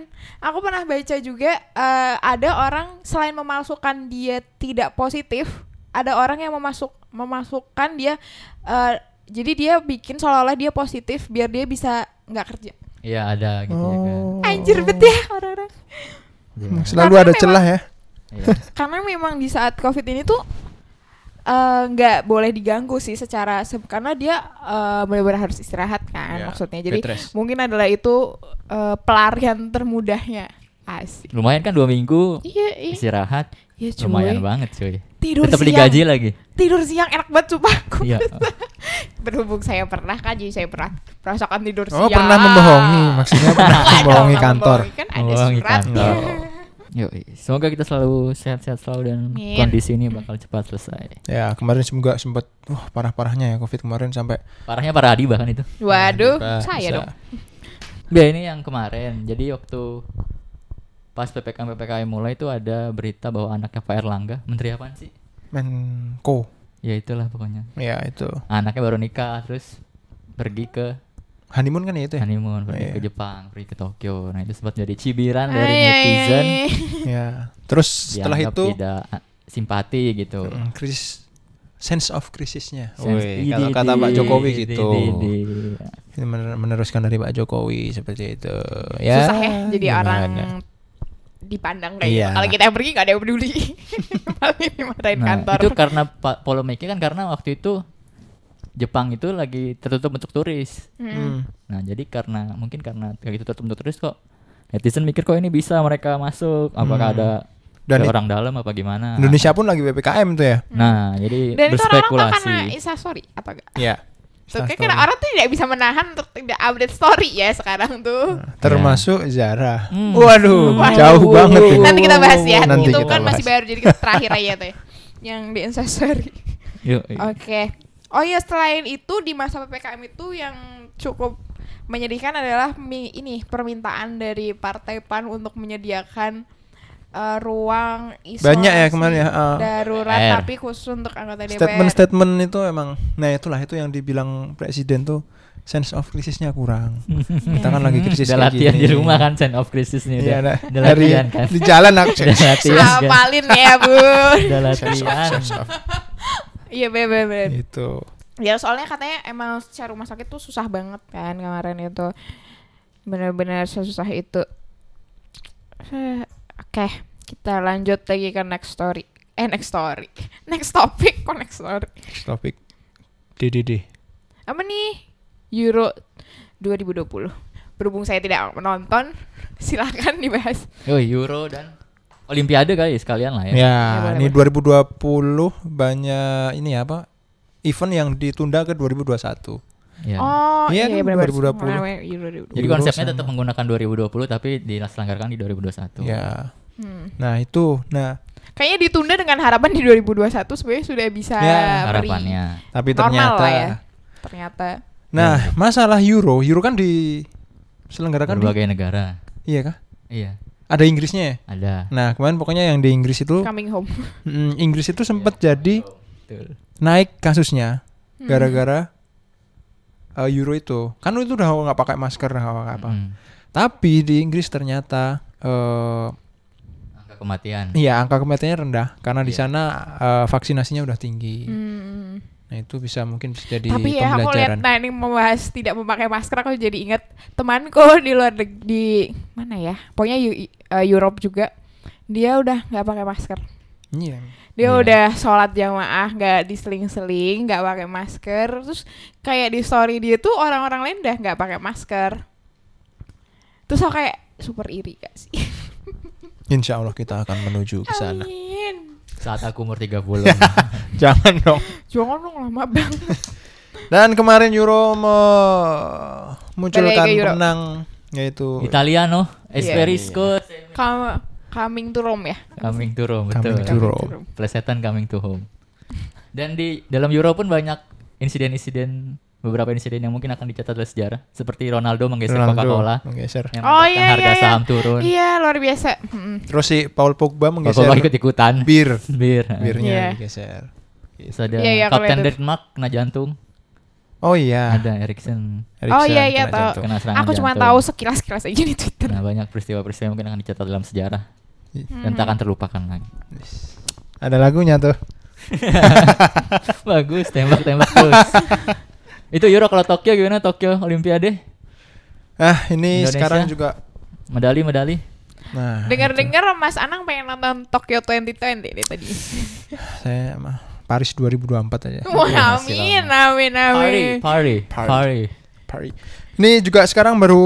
Speaker 1: aku pernah baca juga eh, ada orang selain memalsukan dia tidak positif, ada orang yang memasuk memasukkan dia eh, jadi dia bikin seolah-olah dia positif biar dia bisa nggak kerja.
Speaker 3: Iya ada gitu ya kan.
Speaker 2: Oh.
Speaker 1: Anjir bet ya orang-orang.
Speaker 3: Iya.
Speaker 2: Emang Selalu
Speaker 1: Karena
Speaker 2: ada
Speaker 1: memang-
Speaker 2: celah ya.
Speaker 3: Iya.
Speaker 1: karena memang di saat covid ini tuh eh, nggak boleh diganggu sih secara se- karena dia eh, benar-benar harus istirahat kan
Speaker 2: Ya,
Speaker 1: maksudnya jadi
Speaker 2: bed rest.
Speaker 1: mungkin adalah itu eh, pelarian termudahnya asik
Speaker 3: Lumayan kan dua minggu
Speaker 1: iya iya
Speaker 3: istirahat.
Speaker 1: ya, cuy.
Speaker 3: Lumayan banget cuy.
Speaker 1: tidur
Speaker 3: Tetap
Speaker 1: siang
Speaker 3: digaji lagi.
Speaker 1: tidur siang enak banget sumpah aku
Speaker 3: Iya.
Speaker 1: berhubung saya pernah kan jadi saya pernah merasakan tidur siang
Speaker 2: Oh, pernah membohongi. Maksudnya pernah
Speaker 1: Waduh,
Speaker 2: membohongi kantor.
Speaker 1: kan ada
Speaker 3: Membohongi
Speaker 1: suratnya.
Speaker 3: kantor. Yoi. Semoga kita selalu sehat-sehat selalu dan
Speaker 1: Amin.
Speaker 3: kondisi ini bakal cepat selesai.
Speaker 2: Ya, kemarin semoga sempat wah parah-parahnya ya Covid kemarin sampai
Speaker 3: Parahnya para Adi bahkan itu.
Speaker 1: waduh
Speaker 2: Pak,
Speaker 1: Uh, saya
Speaker 2: bisa.
Speaker 1: dong
Speaker 3: Ya ini yang kemarin. Jadi waktu pas PPKM PPKM mulai itu ada berita bahwa anaknya Pak Erlangga, menteri apaan sih?
Speaker 2: Menko.
Speaker 3: Ya itulah pokoknya.
Speaker 2: Ya, itu.
Speaker 3: Anaknya baru nikah terus pergi ke
Speaker 2: Honeymoon kan ya itu ya?
Speaker 3: honeymoon, pergi
Speaker 2: Iya.
Speaker 3: ke Jepang, pergi ke Tokyo. Nah, itu sempat jadi cibiran dari
Speaker 1: Ay, ay,
Speaker 3: netizen.
Speaker 1: ay.
Speaker 2: Ya. Terus setelah
Speaker 3: dianggap
Speaker 2: itu
Speaker 3: tidak ah, simpati gitu.
Speaker 2: Mm, krisis sense of krisisnya.
Speaker 3: Sense-
Speaker 2: Woi,
Speaker 3: Iya, Idi,
Speaker 2: kalau kata
Speaker 3: idi,
Speaker 2: Pak Jokowi
Speaker 3: idi,
Speaker 2: gitu.
Speaker 3: idi, idi.
Speaker 2: Ini mener- meneruskan dari Pak Jokowi seperti itu. Ya.
Speaker 1: susah ya jadi
Speaker 2: gimana?
Speaker 1: orang dipandang kayak
Speaker 2: Iya.
Speaker 1: gitu. kalau kita yang pergi gak ada yang peduli paling dimarahin
Speaker 3: Nah,
Speaker 1: kantor
Speaker 3: itu
Speaker 2: kan
Speaker 3: karena pa- polemiknya kan karena waktu itu Jepang itu lagi tertutup untuk turis.
Speaker 1: Hmm.
Speaker 2: Hmm.
Speaker 3: Nah, jadi karena mungkin karena kayak gitu tertutup turis kok netizen mikir kok ini bisa mereka masuk, apakah
Speaker 2: Hmm.
Speaker 3: ada
Speaker 2: Dan
Speaker 3: ada
Speaker 2: i-
Speaker 3: orang dalam apa gimana?
Speaker 2: Indonesia pun lagi PPKM tuh ya.
Speaker 3: Nah, jadi
Speaker 1: dan itu orang-orang tuh
Speaker 3: berspekulasi.
Speaker 1: karena instastory apa enggak
Speaker 2: Iya.
Speaker 1: Tuh, kayak karena orang tuh tidak bisa menahan untuk tidak update story ya sekarang tuh
Speaker 2: Nah. Termasuk Zara.
Speaker 3: Hmm.
Speaker 2: Waduh,
Speaker 1: Waduh.
Speaker 2: jauh banget ini.
Speaker 1: nanti kita bahas ya
Speaker 2: Nanti
Speaker 1: itu
Speaker 2: kita
Speaker 1: kan masih
Speaker 2: bahas.
Speaker 1: baru jadi kita terakhir aja tuh ya. yang di instastory
Speaker 3: Yuk, yuk.
Speaker 1: oke oh iya selain itu di masa ppkm itu yang cukup menyedihkan adalah mi- ini permintaan dari partai pan untuk menyediakan eh, ruang isolasi
Speaker 2: Banyak ya kemarin ya. uh,
Speaker 1: darurat
Speaker 3: DPR.
Speaker 1: tapi khusus untuk anggota DPR.
Speaker 2: Statement-statement itu emang nah itulah itu yang dibilang presiden tuh sense of krisisnya kurang. kita kan lagi krisis
Speaker 3: Udah
Speaker 2: kayak
Speaker 3: latihan
Speaker 2: gini.
Speaker 3: di rumah kan sense of crisis nih udah.
Speaker 2: Iya, nah,
Speaker 3: udah
Speaker 2: dari
Speaker 3: latihan kan.
Speaker 2: di jalan aku
Speaker 3: Udah latihan kan.
Speaker 1: Apalin ya, Bu.
Speaker 3: Udah
Speaker 2: Sense of-
Speaker 3: latihan.
Speaker 2: sense of-
Speaker 1: Iya, bener bener.
Speaker 2: itu
Speaker 1: Ya soalnya katanya emang secara rumah sakit tuh susah banget kan kemarin itu. Bener-bener susah itu. Eh, Oke, kita lanjut lagi ke next story. Eh, next story. Next topic, kok next story.
Speaker 2: Next topik DDD
Speaker 1: Apa nih? Euro 2020. Berhubung saya tidak menonton, silakan dibahas.
Speaker 3: Yoi, Euro dan Olimpiade kali sekalian lah ya.
Speaker 2: ya,
Speaker 1: Ya,
Speaker 2: ini 2020 banyak ini apa event yang ditunda ke 2021
Speaker 3: Iya.
Speaker 1: Oh,
Speaker 2: Iya, kan
Speaker 1: bener-bener.
Speaker 2: 2020.
Speaker 1: Kemarin Euro 2020.
Speaker 3: Jadi
Speaker 2: Euro
Speaker 3: konsepnya
Speaker 2: sama.
Speaker 3: tetap menggunakan 2020 tapi diselenggarkan di 2021.
Speaker 2: ya
Speaker 1: Hmm.
Speaker 2: Nah itu, nah
Speaker 1: Kayaknya ditunda dengan harapan di 2021 sebenarnya sudah bisa
Speaker 2: Ya,
Speaker 1: beri-
Speaker 3: harapannya.
Speaker 2: tapi
Speaker 1: Normal
Speaker 2: ternyata,
Speaker 1: lah ya. ternyata.
Speaker 2: nah masalah euro, euro kan diselenggarakan di,
Speaker 3: Berbagai negara.
Speaker 2: iya kah?
Speaker 3: Iya,
Speaker 2: Ada Inggrisnya ya.
Speaker 3: ada.
Speaker 2: Nah kemarin pokoknya yang di Inggris itu,
Speaker 1: Coming home.
Speaker 2: mm, Inggris itu sempat jadi
Speaker 3: Betul.
Speaker 2: naik kasusnya
Speaker 1: Hmm.
Speaker 2: gara-gara uh, euro itu. Kan itu udah nggak pakai masker, nggak pakai apa.
Speaker 3: Mm.
Speaker 2: Tapi di Inggris ternyata eh
Speaker 3: Angka kematian.
Speaker 2: iya angka kematiannya rendah karena di
Speaker 3: Iya.
Speaker 2: sana eh, vaksinasinya udah tinggi.
Speaker 1: Hmm.
Speaker 2: Nah, itu bisa mungkin bisa jadi
Speaker 1: Tapi ya aku lihat
Speaker 2: pembelajaran.
Speaker 1: nah ini membahas tidak memakai masker aku jadi ingat temanku di luar neg- di mana ya? Pokoknya Eu- eh, Europe juga. Dia udah nggak pakai masker.
Speaker 2: Iya.
Speaker 1: Dia
Speaker 3: Iya.
Speaker 1: udah sholat jamaah, nggak diseling-seling, nggak pakai masker. Terus kayak di story dia tuh orang-orang lain udah nggak pakai masker. Terus aku kayak super iri gak sih?
Speaker 2: Insya Allah kita akan menuju ke sana.
Speaker 1: Amin.
Speaker 3: Saat aku umur 30.
Speaker 2: Iya, Jangan dong.
Speaker 1: Jangan dong lama banget.
Speaker 2: Dan kemarin Euro memunculkan
Speaker 1: Balik ke Euro.
Speaker 2: pemenang yaitu
Speaker 3: Italiano,
Speaker 2: Iya,
Speaker 3: Esperisco,
Speaker 1: Kamu coming to Rome ya?
Speaker 3: coming to Rome, betul.
Speaker 2: Coming to Rome.
Speaker 1: Rome.
Speaker 3: Plesetan coming to home. Dan di dalam Euro pun banyak insiden-insiden beberapa insiden yang mungkin akan dicatat oleh sejarah seperti Ronaldo menggeser
Speaker 2: Ronaldo
Speaker 3: Coca-Cola
Speaker 2: menggeser.
Speaker 3: yang
Speaker 1: Oh
Speaker 3: menyebabkan
Speaker 1: iya
Speaker 3: harga
Speaker 1: iya. iya.
Speaker 3: saham turun.
Speaker 1: Iya, luar biasa. Mm-mm.
Speaker 2: Terus si Paul Pogba menggeser
Speaker 3: Coca-Cola ikut-ikutan.
Speaker 2: bir,
Speaker 3: Bir.
Speaker 2: birnya
Speaker 1: Iya.
Speaker 2: digeser.
Speaker 3: Terus ada
Speaker 1: Iya, iya, aku
Speaker 3: Kapten
Speaker 1: lihat itu.
Speaker 3: Denmark kena jantung.
Speaker 2: Oh iya.
Speaker 3: Ada Eriksen
Speaker 1: Oh
Speaker 2: Eriksen
Speaker 1: iya iya
Speaker 2: kena
Speaker 1: tahu.
Speaker 2: jantung.
Speaker 3: kena serangan
Speaker 1: Aku cuma
Speaker 3: jantung.
Speaker 1: tahu sekilas-kilas aja di Twitter.
Speaker 3: Nah, banyak peristiwa-peristiwa yang mungkin akan dicatat dalam sejarah
Speaker 1: Hmm.
Speaker 3: dan tak akan terlupakan lagi.
Speaker 2: Ada lagunya tuh.
Speaker 3: Bagus, tembak-tembak terus. Itu Euro kalau Tokyo gimana? Tokyo Olimpiade?
Speaker 2: Ah, ini
Speaker 3: Indonesia.
Speaker 2: sekarang juga
Speaker 3: Medali-medali?
Speaker 2: Nah,
Speaker 3: gitu.
Speaker 1: Dengar-dengar Mas Anang pengen nonton Tokyo 2020 deh tadi.
Speaker 2: saya mah Paris 2024 aja.
Speaker 3: Iya,
Speaker 1: Wah,
Speaker 2: Masih
Speaker 1: amin,
Speaker 2: lama.
Speaker 1: amin, amin.
Speaker 3: Party, party,
Speaker 2: Party.
Speaker 3: party.
Speaker 2: Paris. Ini juga sekarang baru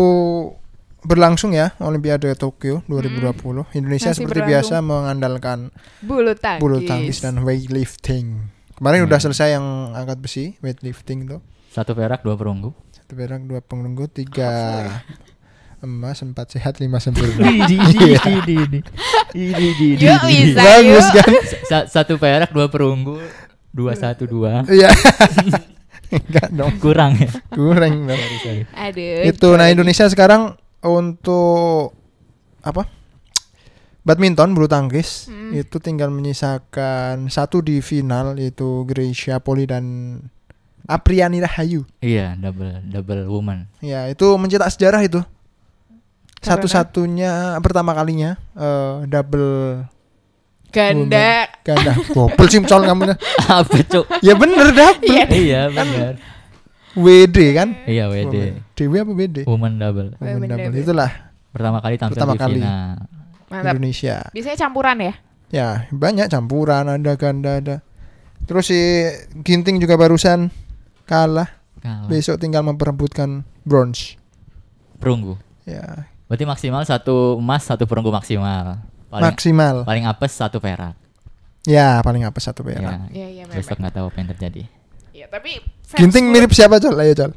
Speaker 2: berlangsung ya Olimpiade Tokyo 2020. Indonesia
Speaker 1: Hmm. Masih
Speaker 2: seperti biasa
Speaker 1: berlangsung.
Speaker 2: mengandalkan
Speaker 1: Bulu tangkis.
Speaker 2: bulu tangkis dan weightlifting. Kemarin
Speaker 3: Hmm.
Speaker 2: udah selesai yang angkat besi, weightlifting tuh.
Speaker 3: Satu perak, dua perunggu.
Speaker 2: Satu perak, dua pengelunggu, tiga
Speaker 1: ya.
Speaker 2: emas, empat sehat, lima sempurna.
Speaker 3: Idi, idi, idi, idi. Idi, idi, idi,
Speaker 1: Yuk,
Speaker 3: idi.
Speaker 1: bisa
Speaker 2: Bagus
Speaker 1: yuk.
Speaker 2: kan?
Speaker 3: Sa- Satu perak, dua perunggu. Dua, satu, dua.
Speaker 2: Iya. Enggak dong,
Speaker 3: Kurang ya?
Speaker 2: kurang dong.
Speaker 1: Aduh.
Speaker 2: itu nah Indonesia sekarang untuk apa badminton bulu tangkis
Speaker 1: Mm.
Speaker 2: itu tinggal menyisakan satu di final yaitu Gracia Poli dan Apriani Rahayu
Speaker 3: Iya, double double woman.
Speaker 2: ya itu mencetak sejarah itu
Speaker 1: eh?
Speaker 2: satu-satunya pertama kalinya eh, double
Speaker 1: Ganda.
Speaker 2: woman ganda gopel simcol kamu dah.
Speaker 3: Apa, Cuk?
Speaker 2: ya bener double
Speaker 1: Iya.
Speaker 3: Iya, benar.
Speaker 2: WD kan
Speaker 3: Iya, WD.
Speaker 2: Woman. Dewi apa WD
Speaker 3: Woman double.
Speaker 2: Woman
Speaker 1: Women
Speaker 2: double
Speaker 1: double.
Speaker 2: itulah
Speaker 3: Pertama kali tampil
Speaker 2: Pertama
Speaker 3: di
Speaker 2: kali.
Speaker 3: final.
Speaker 1: Mantap.
Speaker 2: Indonesia
Speaker 1: Biasanya campuran ya?
Speaker 3: Nah,
Speaker 2: Ya, banyak campuran ada ganda ada. Terus si Ginting juga barusan kalah.
Speaker 3: Kalah.
Speaker 2: Besok tinggal memperebutkan bronze.
Speaker 3: Perunggu.
Speaker 2: Ya,
Speaker 3: Berarti maksimal satu emas, satu perunggu maksimal. Paling
Speaker 2: maksimal.
Speaker 3: paling apes satu perak.
Speaker 2: Ya, paling apa satu perak.
Speaker 3: Ya.
Speaker 1: Iya, iya memang.
Speaker 3: Besok nggak tahu apa yang terjadi.
Speaker 1: Iya, tapi fans
Speaker 2: Ginting
Speaker 1: bulu-
Speaker 2: mirip siapa, Col? Ayo, Col.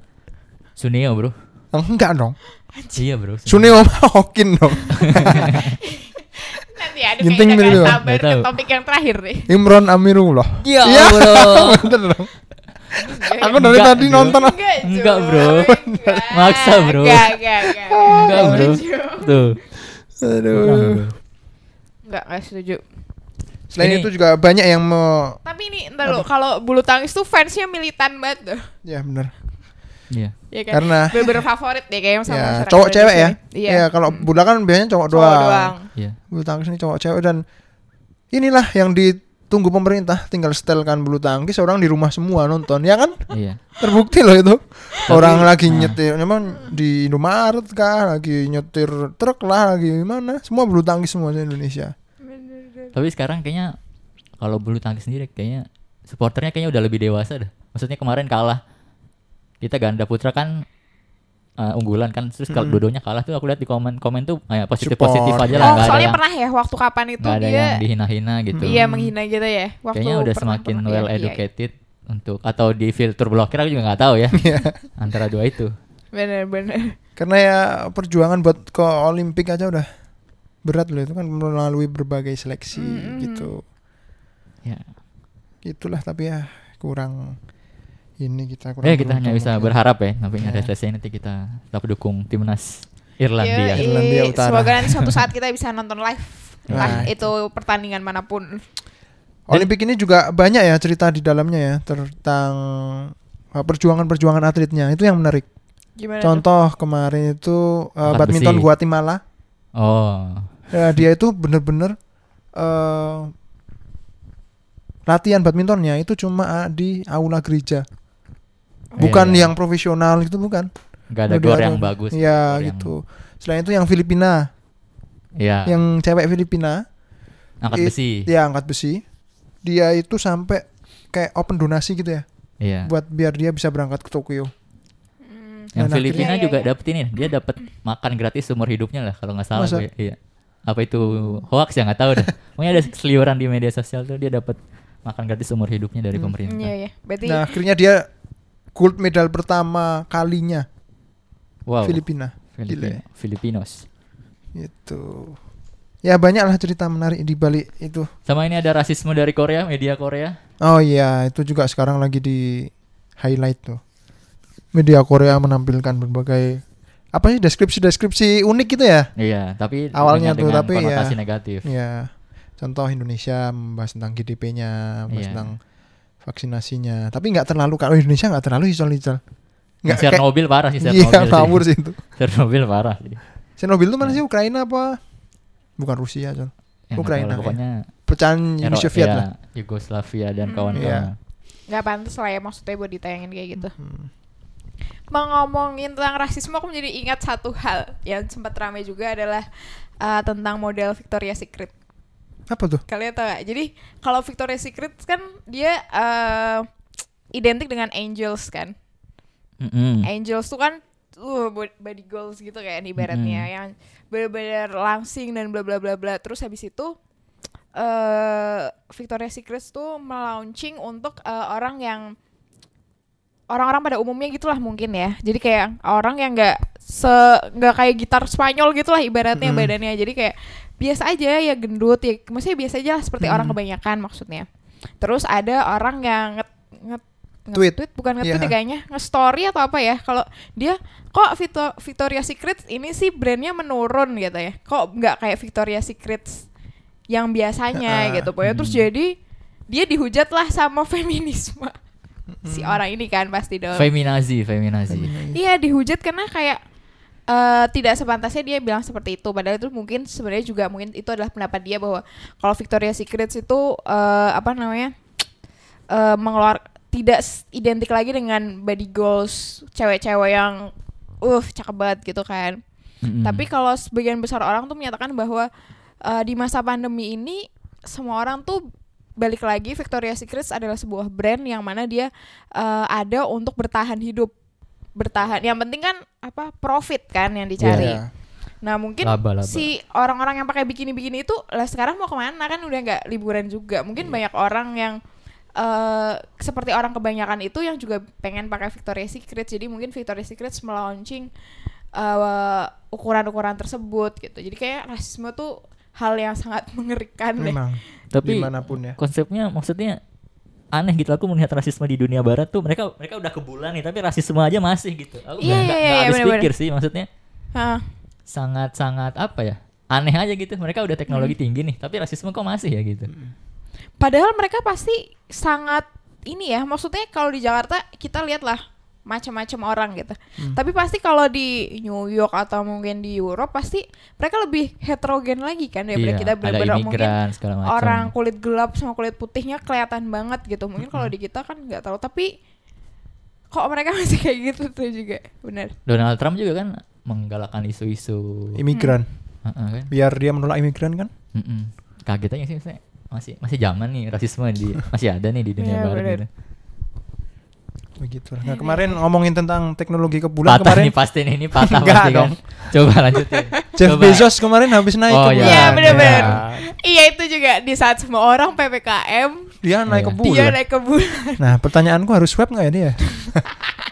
Speaker 3: Suneo, Bro.
Speaker 2: Enggak dong.
Speaker 3: Iya, Bro.
Speaker 2: Suneo mah Hokin dong.
Speaker 1: Nanti ada
Speaker 2: Ginting
Speaker 1: kayaknya
Speaker 2: mirip
Speaker 1: nggak
Speaker 2: apa?
Speaker 1: sabar
Speaker 3: Nggak
Speaker 1: ke
Speaker 3: tahu.
Speaker 1: topik yang terakhir nih.
Speaker 2: Imron Amirullah.
Speaker 3: Ya,
Speaker 2: Ya.
Speaker 3: Bro.
Speaker 1: Oh.
Speaker 2: Bener dong. Aku dari
Speaker 3: Enggak,
Speaker 2: tadi
Speaker 3: Bro.
Speaker 2: nonton.
Speaker 1: Jo.
Speaker 3: Enggak, Bro.
Speaker 1: Enggak.
Speaker 3: Maksa, Bro.
Speaker 1: Enggak, enggak, enggak.
Speaker 3: Enggak, Bro.
Speaker 1: Jo.
Speaker 3: Tuh. kurang,
Speaker 2: Aduh.
Speaker 3: Bro.
Speaker 1: Enggak, enggak setuju.
Speaker 2: Selain
Speaker 3: Ini-
Speaker 2: itu juga banyak yang mau
Speaker 1: Tapi ini entar lo kalau bulu tangkis tuh fansnya militan banget tuh.
Speaker 2: ya bener
Speaker 3: Iya.
Speaker 1: Ya kan?
Speaker 2: Karena
Speaker 1: Bener-bener favorit deh kayaknya sama
Speaker 2: ya
Speaker 1: masyarakat
Speaker 2: cowok cewek ya.
Speaker 1: Indonesia. Iya.
Speaker 2: Ya, kalau bola kan biasanya cowok
Speaker 1: Cowok
Speaker 2: doang.
Speaker 1: doang.
Speaker 3: Iya.
Speaker 2: bulu tangkis ini cowok cewek dan inilah yang ditunggu pemerintah tinggal setelkan bulu tangkis orang di rumah semua nonton ya kan
Speaker 3: Iya.
Speaker 2: terbukti loh itu
Speaker 1: Iya.
Speaker 2: orang lagi
Speaker 3: nah.
Speaker 2: nyetir memang di Indomaret kah lagi nyetir truk lah lagi mana semua bulu tangkis semua di Indonesia
Speaker 3: Tapi sekarang kayaknya kalau bulu tangkis sendiri kayaknya supporternya kayaknya udah lebih dewasa dah. Maksudnya kemarin kalah. Kita ganda putra kan eh, unggulan kan terus kalau dua-duanya kalah tuh aku lihat di komen-komen tuh eh, positif-positif
Speaker 2: Support.
Speaker 3: aja lah
Speaker 1: Oh,
Speaker 3: nggak ada
Speaker 1: soalnya
Speaker 3: yang
Speaker 1: pernah ya waktu kapan itu
Speaker 3: nggak ada
Speaker 1: dia
Speaker 3: yang dihina-hina gitu.
Speaker 1: Iya menghina gitu ya. Waktu
Speaker 3: Kayaknya udah
Speaker 1: pernah-
Speaker 3: semakin
Speaker 1: pernah- iya,
Speaker 3: well
Speaker 1: iya,
Speaker 3: educated untuk atau di filter blokir aku juga nggak tahu ya.
Speaker 2: Iya.
Speaker 3: Antara dua itu.
Speaker 1: Bener-bener.
Speaker 2: karena ya perjuangan buat ke Olimpik aja udah berat loh itu kan melalui berbagai seleksi
Speaker 1: Mm-mm.
Speaker 2: gitu
Speaker 3: Ya.
Speaker 2: itulah tapi ya kurang ini kita kurang
Speaker 3: Eh kita hanya
Speaker 2: beruntung
Speaker 3: bisa
Speaker 2: mungkin.
Speaker 3: berharap ya, tapi
Speaker 2: Ya.
Speaker 3: ada seleksi nanti kita tetap dukung timnas Irlandia.
Speaker 1: Iya.
Speaker 2: Yoi. Irlandia Utara.
Speaker 1: Semoga nanti suatu saat kita bisa nonton live. Lah
Speaker 2: Nah,
Speaker 1: itu pertandingan manapun.
Speaker 2: Olimpik ini juga banyak ya cerita di dalamnya ya tentang uh, perjuangan-perjuangan atletnya itu yang menarik
Speaker 1: Gimana? tuh?
Speaker 2: contoh kemarin itu uh,
Speaker 3: Angkat
Speaker 2: badminton
Speaker 3: besi.
Speaker 2: Guatemala
Speaker 3: Oh,
Speaker 2: Ya, dia itu bener-bener eh latihan badmintonnya itu cuma ah, di aula gereja, bukan
Speaker 3: Oh, Iya, iya.
Speaker 2: yang profesional itu bukan.
Speaker 3: nggak ada
Speaker 2: Udah
Speaker 3: gor
Speaker 2: ada-
Speaker 3: yang bagus.
Speaker 2: Iya
Speaker 3: gor yang-
Speaker 2: gitu. Selain itu yang Filipina,
Speaker 3: Iya.
Speaker 2: yang cewek Filipina,
Speaker 3: angkat
Speaker 2: i- iya,
Speaker 3: besi.
Speaker 2: dia angkat besi, dia itu sampai kayak open donasi gitu ya,
Speaker 3: Iya.
Speaker 2: buat biar dia bisa berangkat ke Tokyo.
Speaker 1: Hmm.
Speaker 3: Yang
Speaker 2: Dan
Speaker 3: Filipina
Speaker 1: akhirnya- Iya,
Speaker 3: juga
Speaker 1: iya, iya.
Speaker 3: dapet ini, dia dapat makan gratis seumur hidupnya lah kalau nggak salah.
Speaker 2: Masa?
Speaker 3: gue. Iya. Apa itu hoax ya nggak tahu dah. Pokoknya ada seliuran di media sosial tuh dia dapat makan gratis seumur hidupnya
Speaker 2: Hmm.
Speaker 3: dari pemerintah.
Speaker 1: Iya iya. Berarti
Speaker 2: Nah akhirnya dia gold medal pertama kalinya
Speaker 3: Wow.
Speaker 2: Filipina.
Speaker 3: Filipino.
Speaker 2: Gila. ya.
Speaker 3: Filipinos.
Speaker 2: Gitu. Ya banyaklah cerita menarik di balik itu.
Speaker 3: Sama ini ada rasisme dari Korea, media Korea.
Speaker 2: Oh iya, itu juga sekarang lagi di highlight tuh. Media Korea menampilkan berbagai apa sih deskripsi-deskripsi unik gitu ya?
Speaker 3: Iya, tapi
Speaker 2: Awalnya tuh,
Speaker 3: dengan, dengan
Speaker 2: tapi ya.
Speaker 3: konotasi negatif.
Speaker 2: Ya. Contoh Indonesia membahas tentang GDP-nya, membahas
Speaker 3: Iya.
Speaker 2: tentang vaksinasinya. Tapi nggak terlalu kalau Indonesia nggak terlalu isol-isol. Nggak
Speaker 3: Nggak
Speaker 2: kayak
Speaker 3: Chernobyl parah sih Chernobyl.
Speaker 2: Iya,
Speaker 3: sih. Iya.
Speaker 2: ngawur sih itu.
Speaker 3: Chernobyl parah sih. Ya,
Speaker 2: Chernobyl itu mana sih Ukraina apa? Bukan Rusia, Col.
Speaker 3: Yang nggak
Speaker 2: Ukraina,
Speaker 3: tahu
Speaker 2: ya.
Speaker 3: lah, pokoknya
Speaker 2: Pecahan Uni
Speaker 3: Ero-
Speaker 2: Soviet
Speaker 3: ya,
Speaker 2: lah.
Speaker 3: Yugoslavia dan
Speaker 1: Hmm.
Speaker 3: kawan-kawan.
Speaker 1: nggak pantas lah ya maksudnya buat ditayangin kayak gitu.
Speaker 2: Hmm.
Speaker 1: Mau ngomongin tentang rasisme aku menjadi ingat satu hal yang sempat ramai juga adalah eh, tentang model Victoria Secret.
Speaker 2: Apa tuh?
Speaker 1: Kalian tau gak? Jadi kalau Victoria Secret kan dia eh, identik dengan angels kan.
Speaker 3: Mm-mm.
Speaker 1: Angels tuh kan uh, bo- body goals gitu kan ibaratnya
Speaker 3: Mm-mm.
Speaker 1: yang benar-benar langsing dan bla bla bla bla. Terus habis itu eh Victoria's Secret tuh melaunching untuk eh, orang yang orang-orang pada umumnya gitulah mungkin ya. Jadi kayak orang yang nggak se nggak kayak gitar Spanyol gitulah ibaratnya
Speaker 2: Mm.
Speaker 1: badannya. Jadi kayak biasa aja ya gendut ya maksudnya biasa aja lah seperti orang
Speaker 2: Mm.
Speaker 1: kebanyakan maksudnya. Terus ada orang yang nge- nge-
Speaker 2: Tweet.
Speaker 1: nge-tweet bukan nge-tweet
Speaker 2: Iya.
Speaker 1: ya kayaknya nge-story atau apa ya kalau dia kok Vito- Victoria Secret ini sih brandnya menurun gitu ya kok nggak kayak Victoria Secret yang biasanya
Speaker 2: Ah,
Speaker 1: gitu pokoknya terus
Speaker 3: hmm.
Speaker 1: jadi dia dihujat lah sama feminisme si orang ini kan pasti dong
Speaker 3: Feminazi, feminazi.
Speaker 1: iya dihujat karena kayak eh, tidak sepantasnya dia bilang seperti itu padahal itu mungkin sebenarnya juga mungkin itu adalah pendapat dia bahwa kalau Victoria Secret itu eh, apa namanya eh mengeluar tidak s- identik lagi dengan body goals cewek-cewek yang uh cakep banget gitu kan
Speaker 3: Mm-mm.
Speaker 1: tapi kalau sebagian besar orang tuh menyatakan bahwa eh, di masa pandemi ini semua orang tuh balik lagi Victoria's Secret adalah sebuah brand yang mana dia eh, ada untuk bertahan hidup bertahan yang penting kan apa profit kan yang dicari
Speaker 2: Iya.
Speaker 1: nah mungkin
Speaker 3: Laba, laba.
Speaker 1: si orang-orang yang pakai bikini-bikini itu lah sekarang mau kemana kan udah nggak liburan juga
Speaker 3: Iya.
Speaker 1: mungkin banyak orang yang eh seperti orang kebanyakan itu yang juga pengen pakai Victoria's Secret jadi mungkin Victoria's Secret melaunching eh, ukuran-ukuran tersebut gitu jadi kayak rasisme tuh hal yang sangat mengerikan deh.
Speaker 2: Memang.
Speaker 3: tapi
Speaker 2: dimanapun ya.
Speaker 3: konsepnya maksudnya aneh gitu aku melihat rasisme di dunia barat tuh mereka mereka udah ke bulan nih tapi rasisme aja masih gitu aku
Speaker 1: Iya,
Speaker 3: nggak-
Speaker 1: iya,
Speaker 3: nggak
Speaker 1: iya,
Speaker 3: nggak habis
Speaker 1: bener-bener.
Speaker 3: pikir sih maksudnya
Speaker 1: Hah.
Speaker 3: sangat sangat apa ya aneh aja gitu mereka udah teknologi
Speaker 1: Hmm.
Speaker 3: tinggi nih tapi rasisme kok masih ya gitu
Speaker 1: Padahal mereka pasti sangat ini ya, maksudnya kalau di Jakarta kita lihatlah macam-macam orang gitu.
Speaker 3: Hmm.
Speaker 1: Tapi pasti kalau di New York atau mungkin di Eropa pasti mereka lebih heterogen lagi kan daripada
Speaker 3: Iya,
Speaker 1: kita
Speaker 3: ada
Speaker 1: benar-benar mungkin
Speaker 3: imigran segala macam
Speaker 1: orang kulit gelap sama kulit putihnya kelihatan banget gitu. Mungkin
Speaker 3: Hmm.
Speaker 1: kalau di kita kan nggak tahu, tapi kok mereka masih kayak gitu tuh juga. Benar.
Speaker 3: Donald Trump juga kan menggalakkan isu-isu
Speaker 2: Imigran.
Speaker 3: Heeh, kan?
Speaker 2: Biar dia menolak imigran kan?
Speaker 3: Mm-mm. kaget aja sih maksudnya. masih masih zaman nih rasisme di masih ada nih di
Speaker 1: Iya,
Speaker 3: dunia barat
Speaker 1: bener.
Speaker 3: gitu.
Speaker 2: Begitu.
Speaker 1: Iya.
Speaker 2: Nah, kemarin ngomongin tentang teknologi ke bulan
Speaker 3: patah
Speaker 2: kemarin
Speaker 3: nih pasti nih ini patah
Speaker 2: Enggak
Speaker 3: pasti kan
Speaker 2: dong.
Speaker 3: coba lanjutin
Speaker 2: Jeff
Speaker 3: Coba.
Speaker 2: Bezos kemarin habis naik
Speaker 3: Oh,
Speaker 2: ke
Speaker 3: iya.
Speaker 2: bulan.
Speaker 1: Iya, bener-bener.
Speaker 2: Ya.
Speaker 1: Iya itu juga di saat semua orang PPKM
Speaker 2: Dia naik ke
Speaker 3: Iya.
Speaker 2: bulan.
Speaker 1: dia naik ke bulan.
Speaker 2: Nah, pertanyaanku harus swab nggak ya dia?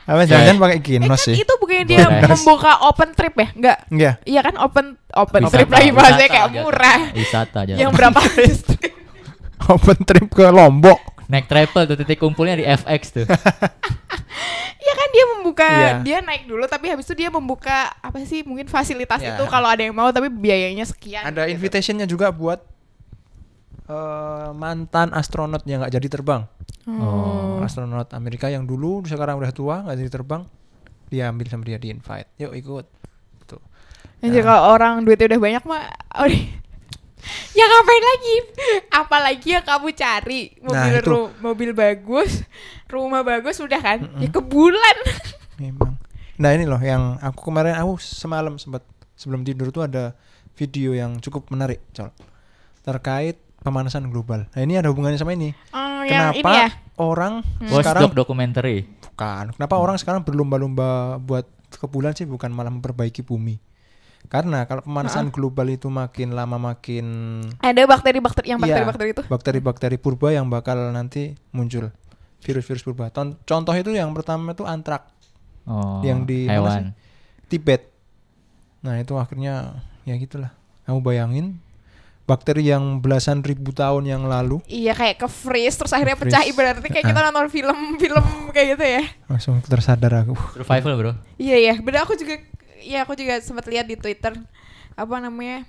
Speaker 2: Apa
Speaker 3: Iya.
Speaker 2: jangan pakai ginos
Speaker 1: kan
Speaker 2: sih?
Speaker 1: itu bukannya dia
Speaker 3: Bonus.
Speaker 1: membuka open trip ya? Enggak.
Speaker 2: Iya.
Speaker 1: Iya kan open open
Speaker 3: Wisata,
Speaker 1: trip lagi
Speaker 3: wisata,
Speaker 1: bahasanya kayak
Speaker 2: gitu.
Speaker 3: jatuh.
Speaker 1: murah.
Speaker 3: Wisata
Speaker 2: Iya.
Speaker 3: aja.
Speaker 1: Yang berapa?
Speaker 2: Open trip ke Lombok.
Speaker 3: Naik travel tuh titik kumpulnya di FX tuh.
Speaker 1: Iya kan dia membuka
Speaker 2: Iya.
Speaker 1: dia naik dulu tapi habis itu dia membuka apa sih mungkin fasilitas
Speaker 2: Iya.
Speaker 1: itu kalau ada yang mau tapi biayanya sekian.
Speaker 2: Ada
Speaker 1: gitu.
Speaker 2: invitationnya juga buat eh, mantan astronot yang nggak jadi terbang.
Speaker 3: Oh.
Speaker 2: Astronot Amerika yang dulu sekarang udah tua nggak jadi terbang, dia ambil sama dia di invite. Yuk ikut. Tuh.
Speaker 1: Anjir Ya kalau orang duitnya udah banyak Oh, mah Ya ngapain lagi? Apalagi yang kamu cari mobil
Speaker 2: Nah, itu.
Speaker 1: ru- mobil bagus, rumah bagus udah kan? Ya ke bulan.
Speaker 2: Memang. Nah ini loh yang aku kemarin aku semalam sempat sebelum tidur tuh ada video yang cukup menarik, Col. Terkait pemanasan global. Nah ini ada hubungannya sama ini.
Speaker 1: Hmm, yang
Speaker 2: Kenapa
Speaker 1: ini ya.
Speaker 2: orang sekarang
Speaker 3: Watchdog documentary.
Speaker 2: bukan? Kenapa orang sekarang berlomba-lomba buat ke bulan sih bukan malah memperbaiki bumi? Karena kalau
Speaker 1: Hmm.
Speaker 2: pemanasan global itu makin lama makin
Speaker 1: Ada bakteri-bakteri yang
Speaker 2: Iya,
Speaker 1: bakteri-bakteri itu.
Speaker 2: bakteri-bakteri purba yang bakal nanti muncul virus-virus purba. Ton- Contoh itu yang pertama itu antrak
Speaker 3: Oh.
Speaker 2: yang di mana
Speaker 3: hewan.
Speaker 2: sih? Tibet. Nah itu akhirnya ya gitulah. Kamu bayangin bakteri yang belasan ribu tahun yang lalu
Speaker 1: Iya kayak ke freeze terus akhirnya
Speaker 2: Ke-freeze.
Speaker 1: pecah ibaratnya kayak kita nonton film-film kayak gitu ya.
Speaker 2: langsung tersadar aku.
Speaker 3: Survival, Bro.
Speaker 1: Iya ya, benar aku juga ya aku juga sempat lihat di Twitter apa namanya?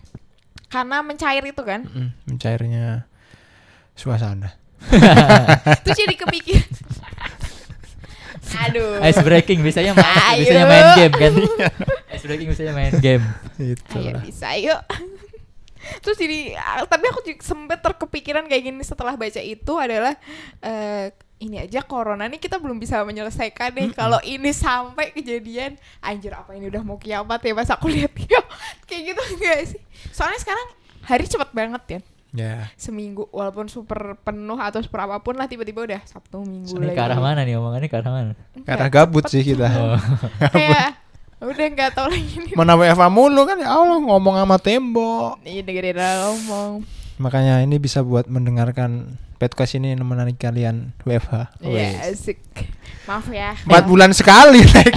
Speaker 1: Karena mencair itu kan.
Speaker 2: Mm, Mencairnya suasana.
Speaker 1: Terus jadi kepikir. Aduh.
Speaker 3: Eh, Ice breaking biasanya ma-
Speaker 1: Ayo.
Speaker 3: biasanya main game kan. Ice breaking biasanya main game.
Speaker 1: Ayo
Speaker 2: Itulah.
Speaker 1: bisa yuk. Terus jadi ah, tapi aku juga sempet terkepikiran kayak gini setelah baca itu adalah eh, ini aja corona nih kita belum bisa menyelesaikan nih kalau ini sampai kejadian anjir apa ini udah mau kiamat ya pas aku lihat yuk kayak gitu enggak sih. Soalnya sekarang hari cepet banget ya.
Speaker 3: Iya,
Speaker 2: Ya.
Speaker 1: Seminggu walaupun super penuh atau super apapun lah tiba-tiba udah Sabtu Minggu
Speaker 3: Ini ke arah mana nih omongannya ke arah mana?
Speaker 1: Enggak,
Speaker 2: Karena gabut sih
Speaker 3: Oh.
Speaker 2: kita.
Speaker 1: Kayak udah nggak tahu lagi nih.
Speaker 2: Mana WFA mulu kan ya Allah ngomong sama tembok.
Speaker 1: Iya dengerin orang ngomong.
Speaker 2: Makanya ini bisa buat mendengarkan podcast ini menarik kalian WFH.
Speaker 1: Iya asik. Maaf ya.
Speaker 2: Empat bulan sekali naik.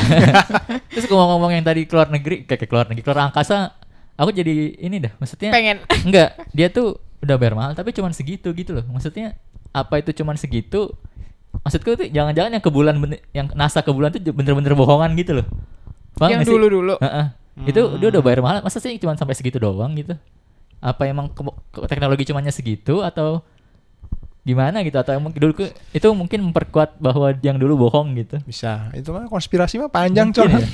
Speaker 3: Terus aku mau ngomong yang tadi keluar negeri, kayak keluar negeri, keluar angkasa, aku jadi ini dah, maksudnya
Speaker 1: pengen
Speaker 3: enggak, dia tuh udah bayar mahal tapi cuman segitu gitu loh. Maksudnya apa itu cuman segitu? Maksudku tuh jangan-jangan yang ke bulan bener- yang NASA ke bulan tuh bener-bener bohongan gitu loh. Paham
Speaker 1: yang
Speaker 3: nggak sih?
Speaker 1: dulu-dulu.
Speaker 3: Heeh. Itu
Speaker 2: Hmm.
Speaker 3: dia udah bayar mahal, masa sih cuma sampai segitu doang gitu? Apa emang ke- ke- teknologi cumannya segitu atau gimana gitu atau emang dulu ke- itu mungkin memperkuat bahwa yang dulu bohong gitu.
Speaker 2: Bisa. Itu mah konspirasi mah panjang coy.
Speaker 3: Mungkin ya.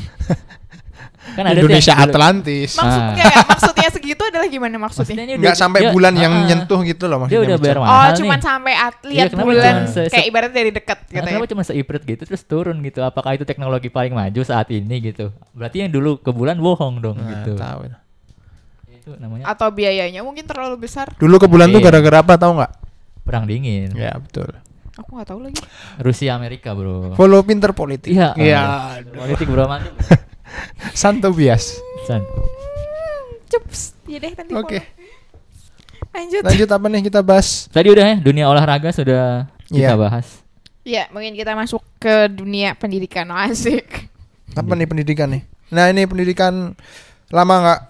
Speaker 3: Kan ada tuh yang
Speaker 2: Indonesia
Speaker 3: dulu-
Speaker 2: Atlantis.
Speaker 1: Maksudnya nggak, maksudnya segitu adalah gimana maksudnya?
Speaker 3: Ah. Maksudnya ini
Speaker 2: Nggak
Speaker 3: udah-
Speaker 2: sampai
Speaker 3: Iya, dia-
Speaker 2: bulan yang
Speaker 3: ah, ah.
Speaker 2: nyentuh gitu loh
Speaker 3: Dia
Speaker 2: maksudnya.
Speaker 3: udah bayar
Speaker 2: Bicara.
Speaker 3: mahal
Speaker 1: Oh,
Speaker 3: nih.
Speaker 1: cuman sampai at-
Speaker 3: Iya,
Speaker 1: lihat
Speaker 3: kenapa
Speaker 1: bulan
Speaker 3: cuman se- se-
Speaker 1: kayak ibarat dari dekat
Speaker 3: Nah,
Speaker 1: gitu ya.
Speaker 3: kenapa cuma seirit gitu terus turun gitu? Apakah itu teknologi paling maju saat ini gitu? Berarti yang dulu ke bulan bohong dong
Speaker 2: Nah,
Speaker 3: gitu.
Speaker 2: tahu.
Speaker 3: Itu namanya
Speaker 1: Atau biayanya mungkin terlalu besar.
Speaker 2: Dulu ke bulan tuh
Speaker 3: Mungkin.
Speaker 2: gara-gara apa tahu nggak?
Speaker 3: Hmm. perang dingin.
Speaker 1: Iya.
Speaker 2: Ya betul.
Speaker 1: Aku nggak tahu lagi.
Speaker 3: Rusia Amerika, Bro.
Speaker 2: Follow pinter politik.
Speaker 3: Iya.
Speaker 2: Iya.
Speaker 3: eh, Politik Bro mantap.
Speaker 2: Santo bias.
Speaker 3: San.
Speaker 1: Hmm, Cups. Ya deh nanti
Speaker 2: Oke.
Speaker 1: follow. Lanjut.
Speaker 2: Lanjut apa nih kita bahas?
Speaker 3: Tadi udah ya dunia olahraga sudah kita
Speaker 2: Iya.
Speaker 3: bahas.
Speaker 1: Ya, mungkin kita masuk ke dunia pendidikan Oh, asik.
Speaker 2: Apa nih pendidikan nih? Nah ini pendidikan lama nggak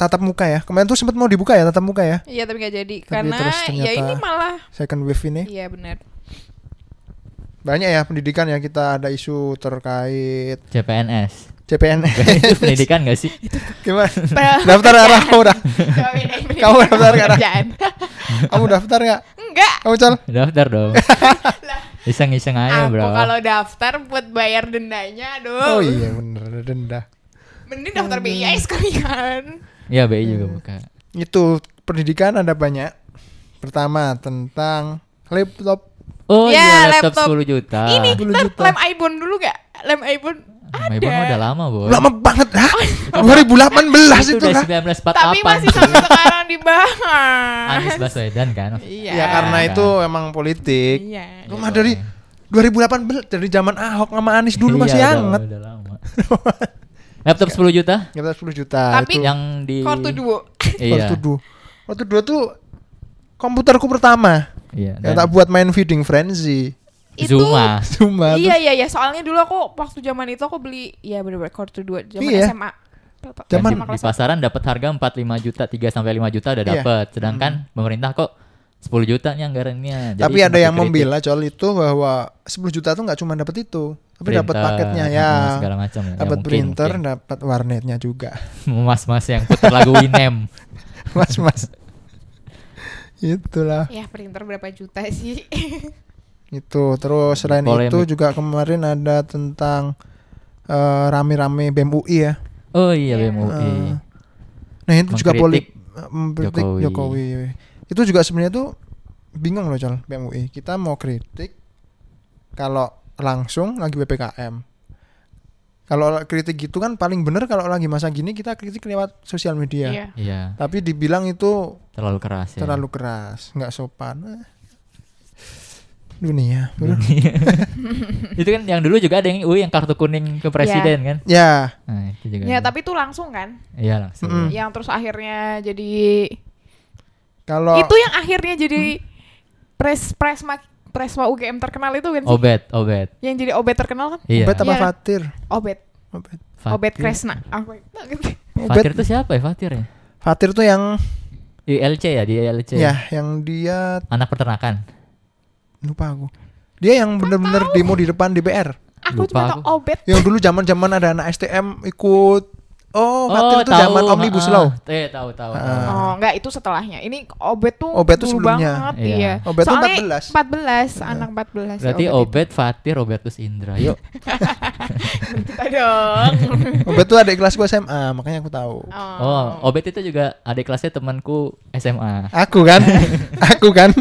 Speaker 2: tatap muka ya. Kemarin tuh sempat mau dibuka ya tatap muka ya.
Speaker 1: Iya, tapi nggak jadi
Speaker 2: Tapi
Speaker 1: karena
Speaker 2: terus
Speaker 1: ya
Speaker 2: ternyata- Eh?
Speaker 1: ini malah
Speaker 2: Second wave ini
Speaker 1: Iya benar.
Speaker 2: banyak ya pendidikan ya kita ada isu terkait
Speaker 3: CPNS.
Speaker 2: CPN.
Speaker 3: itu pendidikan gak sih?
Speaker 2: Gimana? daftar arah kamu dah. Kamu kan? daftar nggak?
Speaker 1: Kerjaan.
Speaker 2: Kamu daftar nggak?
Speaker 1: Enggak.
Speaker 2: Kamu cel?
Speaker 3: Daftar dong. Iseng-iseng aja,
Speaker 1: Aku
Speaker 3: Bro.
Speaker 1: kalau daftar buat bayar dendanya,
Speaker 2: Oh
Speaker 1: aduh.
Speaker 2: iya bener ada denda.
Speaker 1: Mending daftar
Speaker 2: Hmm.
Speaker 1: BIS sekalian.
Speaker 3: Iya, BI juga
Speaker 1: Hmm.
Speaker 3: buka.
Speaker 2: Itu pendidikan ada banyak. Pertama tentang laptop
Speaker 3: Oh
Speaker 1: Ya,
Speaker 3: iya, laptop,
Speaker 1: laptop.
Speaker 3: 10 juta.
Speaker 1: Ini
Speaker 2: 10
Speaker 1: ntar
Speaker 2: juta.
Speaker 1: lem iPhone dulu gak? Lem iPhone.
Speaker 3: Mebon
Speaker 1: Ada.
Speaker 3: udah lama, Boy.
Speaker 2: lama banget hah? 2018
Speaker 3: itu
Speaker 2: itu
Speaker 3: udah
Speaker 2: kan?
Speaker 3: 1948.
Speaker 1: Tapi masih
Speaker 3: gitu.
Speaker 1: sampai sekarang dibahas.
Speaker 3: Anies Baswedan kan.
Speaker 1: Iya.
Speaker 2: Ya karena itu emang politik.
Speaker 1: Iya.
Speaker 2: Lu mah dari 2018 dari zaman Ahok sama Anies dulu
Speaker 3: Iya,
Speaker 2: masih
Speaker 3: udah-
Speaker 2: anget.
Speaker 3: udah lama. Laptop 10 juta
Speaker 2: Kita 10 Ya, juta
Speaker 1: Tapi
Speaker 2: itu.
Speaker 3: yang di
Speaker 1: Kartu duo.
Speaker 3: Iya.
Speaker 2: Waktu dua. Waktu dua tuh komputerku pertama
Speaker 3: Iya.
Speaker 2: yang
Speaker 3: dan-
Speaker 2: tak buat main feeding frenzy.
Speaker 1: itu
Speaker 3: Zuma.
Speaker 2: Zuma
Speaker 1: Iya
Speaker 2: terus
Speaker 1: iya iya, soalnya dulu aku waktu zaman itu aku beli ya bener-bener quarter 2 zaman
Speaker 2: Iya.
Speaker 1: SMA. SMA
Speaker 2: Zaman-
Speaker 3: di
Speaker 1: kelas
Speaker 3: pasaran dapat harga 45 juta 3 sampai 5 juta udah
Speaker 2: Iya.
Speaker 3: dapat sedangkan pemerintah kok 10 juta nih anggarannya Jadi
Speaker 2: tapi ada
Speaker 3: sempat
Speaker 2: yang
Speaker 3: dikritik
Speaker 2: membela soal itu bahwa 10 juta tuh nggak cuma dapat itu tapi dapat
Speaker 3: printer,
Speaker 2: paketnya ya
Speaker 3: apa, segala macam ya, Ya,
Speaker 2: dapat
Speaker 3: mungkin,
Speaker 2: printer
Speaker 3: mungkin.
Speaker 2: dapat warnetnya juga
Speaker 3: mas-mas yang putar lagu Winem
Speaker 2: mas mas itulah
Speaker 1: Ya printer berapa juta sih?
Speaker 2: itu terus selain
Speaker 3: Polemik.
Speaker 2: itu juga kemarin ada tentang eh, rame-rame BEM UI ya
Speaker 3: oh iya BMUI
Speaker 2: Eh, nah itu juga
Speaker 3: Mengkritik
Speaker 2: politik mengkritik
Speaker 3: Jokowi.
Speaker 2: Jokowi. itu juga sebenarnya tuh bingung loh Col BEM UI kita mau kritik kalau langsung lagi PPKM kalau kritik gitu kan paling bener kalau lagi masa gini kita kritik lewat sosial media
Speaker 1: Iya.
Speaker 3: iya
Speaker 2: tapi dibilang itu
Speaker 3: terlalu keras ya
Speaker 2: terlalu keras nggak sopan Eh. dunia bro.
Speaker 3: itu kan yang dulu juga ada yang UI yang kartu
Speaker 2: Iya.
Speaker 3: kuning ke presiden kan
Speaker 2: ya
Speaker 3: nah, itu juga
Speaker 1: Ya
Speaker 3: ada.
Speaker 1: tapi itu langsung kan,
Speaker 3: iya langsung
Speaker 2: Mm-mm.
Speaker 1: yang terus akhirnya jadi
Speaker 2: kalau
Speaker 1: itu ya. yang akhirnya
Speaker 2: Hmm.
Speaker 1: jadi pres presma presma UGM terkenal itu kan sih?
Speaker 3: obet obet
Speaker 1: Yang jadi obet terkenal kan?
Speaker 3: iya
Speaker 2: Obet apa
Speaker 1: Iya.
Speaker 2: Fatir
Speaker 1: Obet,
Speaker 2: Obet.
Speaker 3: Fatir.
Speaker 1: obet Kresna. Aku gitu.
Speaker 3: Fatir
Speaker 2: Obet-
Speaker 3: itu siapa ya Fatir ya
Speaker 2: Fatir tuh yang
Speaker 3: ILC ya di ILC
Speaker 2: ya yang dia
Speaker 3: anak peternakan
Speaker 2: lupa aku dia yang
Speaker 1: Kan
Speaker 2: bener-bener demo di depan DPR
Speaker 1: aku
Speaker 3: Lupa
Speaker 1: cuma
Speaker 3: aku.
Speaker 1: tau obet.
Speaker 2: yang dulu zaman-zaman ada anak STM ikut oh Fatir tuh
Speaker 3: tahu,
Speaker 2: zaman omnibus
Speaker 3: ah,
Speaker 2: law
Speaker 3: Eh, tahu tahu.
Speaker 2: Ah.
Speaker 3: tahu.
Speaker 1: Oh, enggak itu setelahnya. Ini obet tuh
Speaker 2: Obet tuh
Speaker 1: dulu
Speaker 2: sebelumnya.
Speaker 1: banget,
Speaker 3: Iya.
Speaker 1: iya.
Speaker 2: Obet tuh Iya.
Speaker 1: Soalnya 14,
Speaker 2: 14.
Speaker 1: anak Oh, 14.
Speaker 3: Berarti
Speaker 1: obet.
Speaker 3: Obed, Fatir, Robertus Indra. Yuk.
Speaker 1: Kita dong.
Speaker 2: Obet tuh adik kelas gue SMA makanya aku tahu
Speaker 3: Oh, Obed itu juga adik kelasnya temanku SMA.
Speaker 2: aku kan aku kan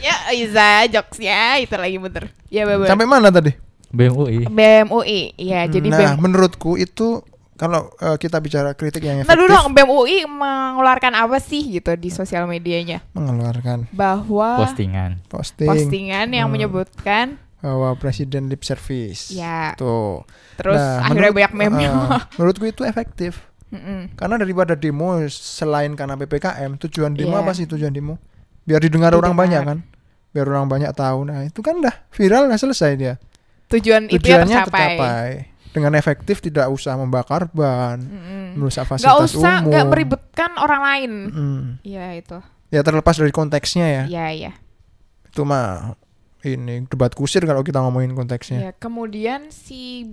Speaker 1: Ya, Iza jokes ya, itu lagi bener. Ya, bener.
Speaker 2: sampai mana tadi
Speaker 3: BMUI.
Speaker 1: BMUI. Ya, jadi
Speaker 2: nah
Speaker 1: BEM.
Speaker 2: menurutku itu kalau eh, kita bicara kritik yang
Speaker 1: Nah, dulu
Speaker 2: efektif
Speaker 1: dong BMUI mengeluarkan apa sih gitu di sosial medianya?
Speaker 2: mengeluarkan
Speaker 1: Bahwa
Speaker 3: Postingan.
Speaker 2: posting,
Speaker 1: postingan yang
Speaker 2: Hmm.
Speaker 1: menyebutkan
Speaker 2: bahwa presiden lip service
Speaker 1: Ya.
Speaker 2: tuh
Speaker 1: terus
Speaker 2: Nah,
Speaker 1: akhirnya
Speaker 2: menurut-
Speaker 1: banyak meme.
Speaker 2: eh, menurutku itu efektif
Speaker 1: Heeh.
Speaker 2: Karena daripada demo selain karena PPKM, tujuan
Speaker 1: Iya.
Speaker 2: demo apa sih tujuan demo? Biar didengar orang banyak
Speaker 1: Didengar.
Speaker 2: kan? Biar orang banyak tahu. Nah, itu kan dah viral nggak selesai dia.
Speaker 1: Tujuan itu ya
Speaker 2: Tujuannya
Speaker 1: tercapai.
Speaker 2: tercapai. Dengan efektif tidak usah membakar ban,
Speaker 1: Mm-mm.
Speaker 2: merusak
Speaker 1: Hmm. Nggak
Speaker 2: fasilitas
Speaker 1: usah
Speaker 2: umum.
Speaker 1: nggak meribetkan orang lain.
Speaker 2: Mm.
Speaker 1: Iya, itu.
Speaker 2: Ya terlepas dari konteksnya ya.
Speaker 1: Iya, iya.
Speaker 2: Itu mah ini debat kusir kalau kita ngomongin konteksnya.
Speaker 1: Ya, kemudian si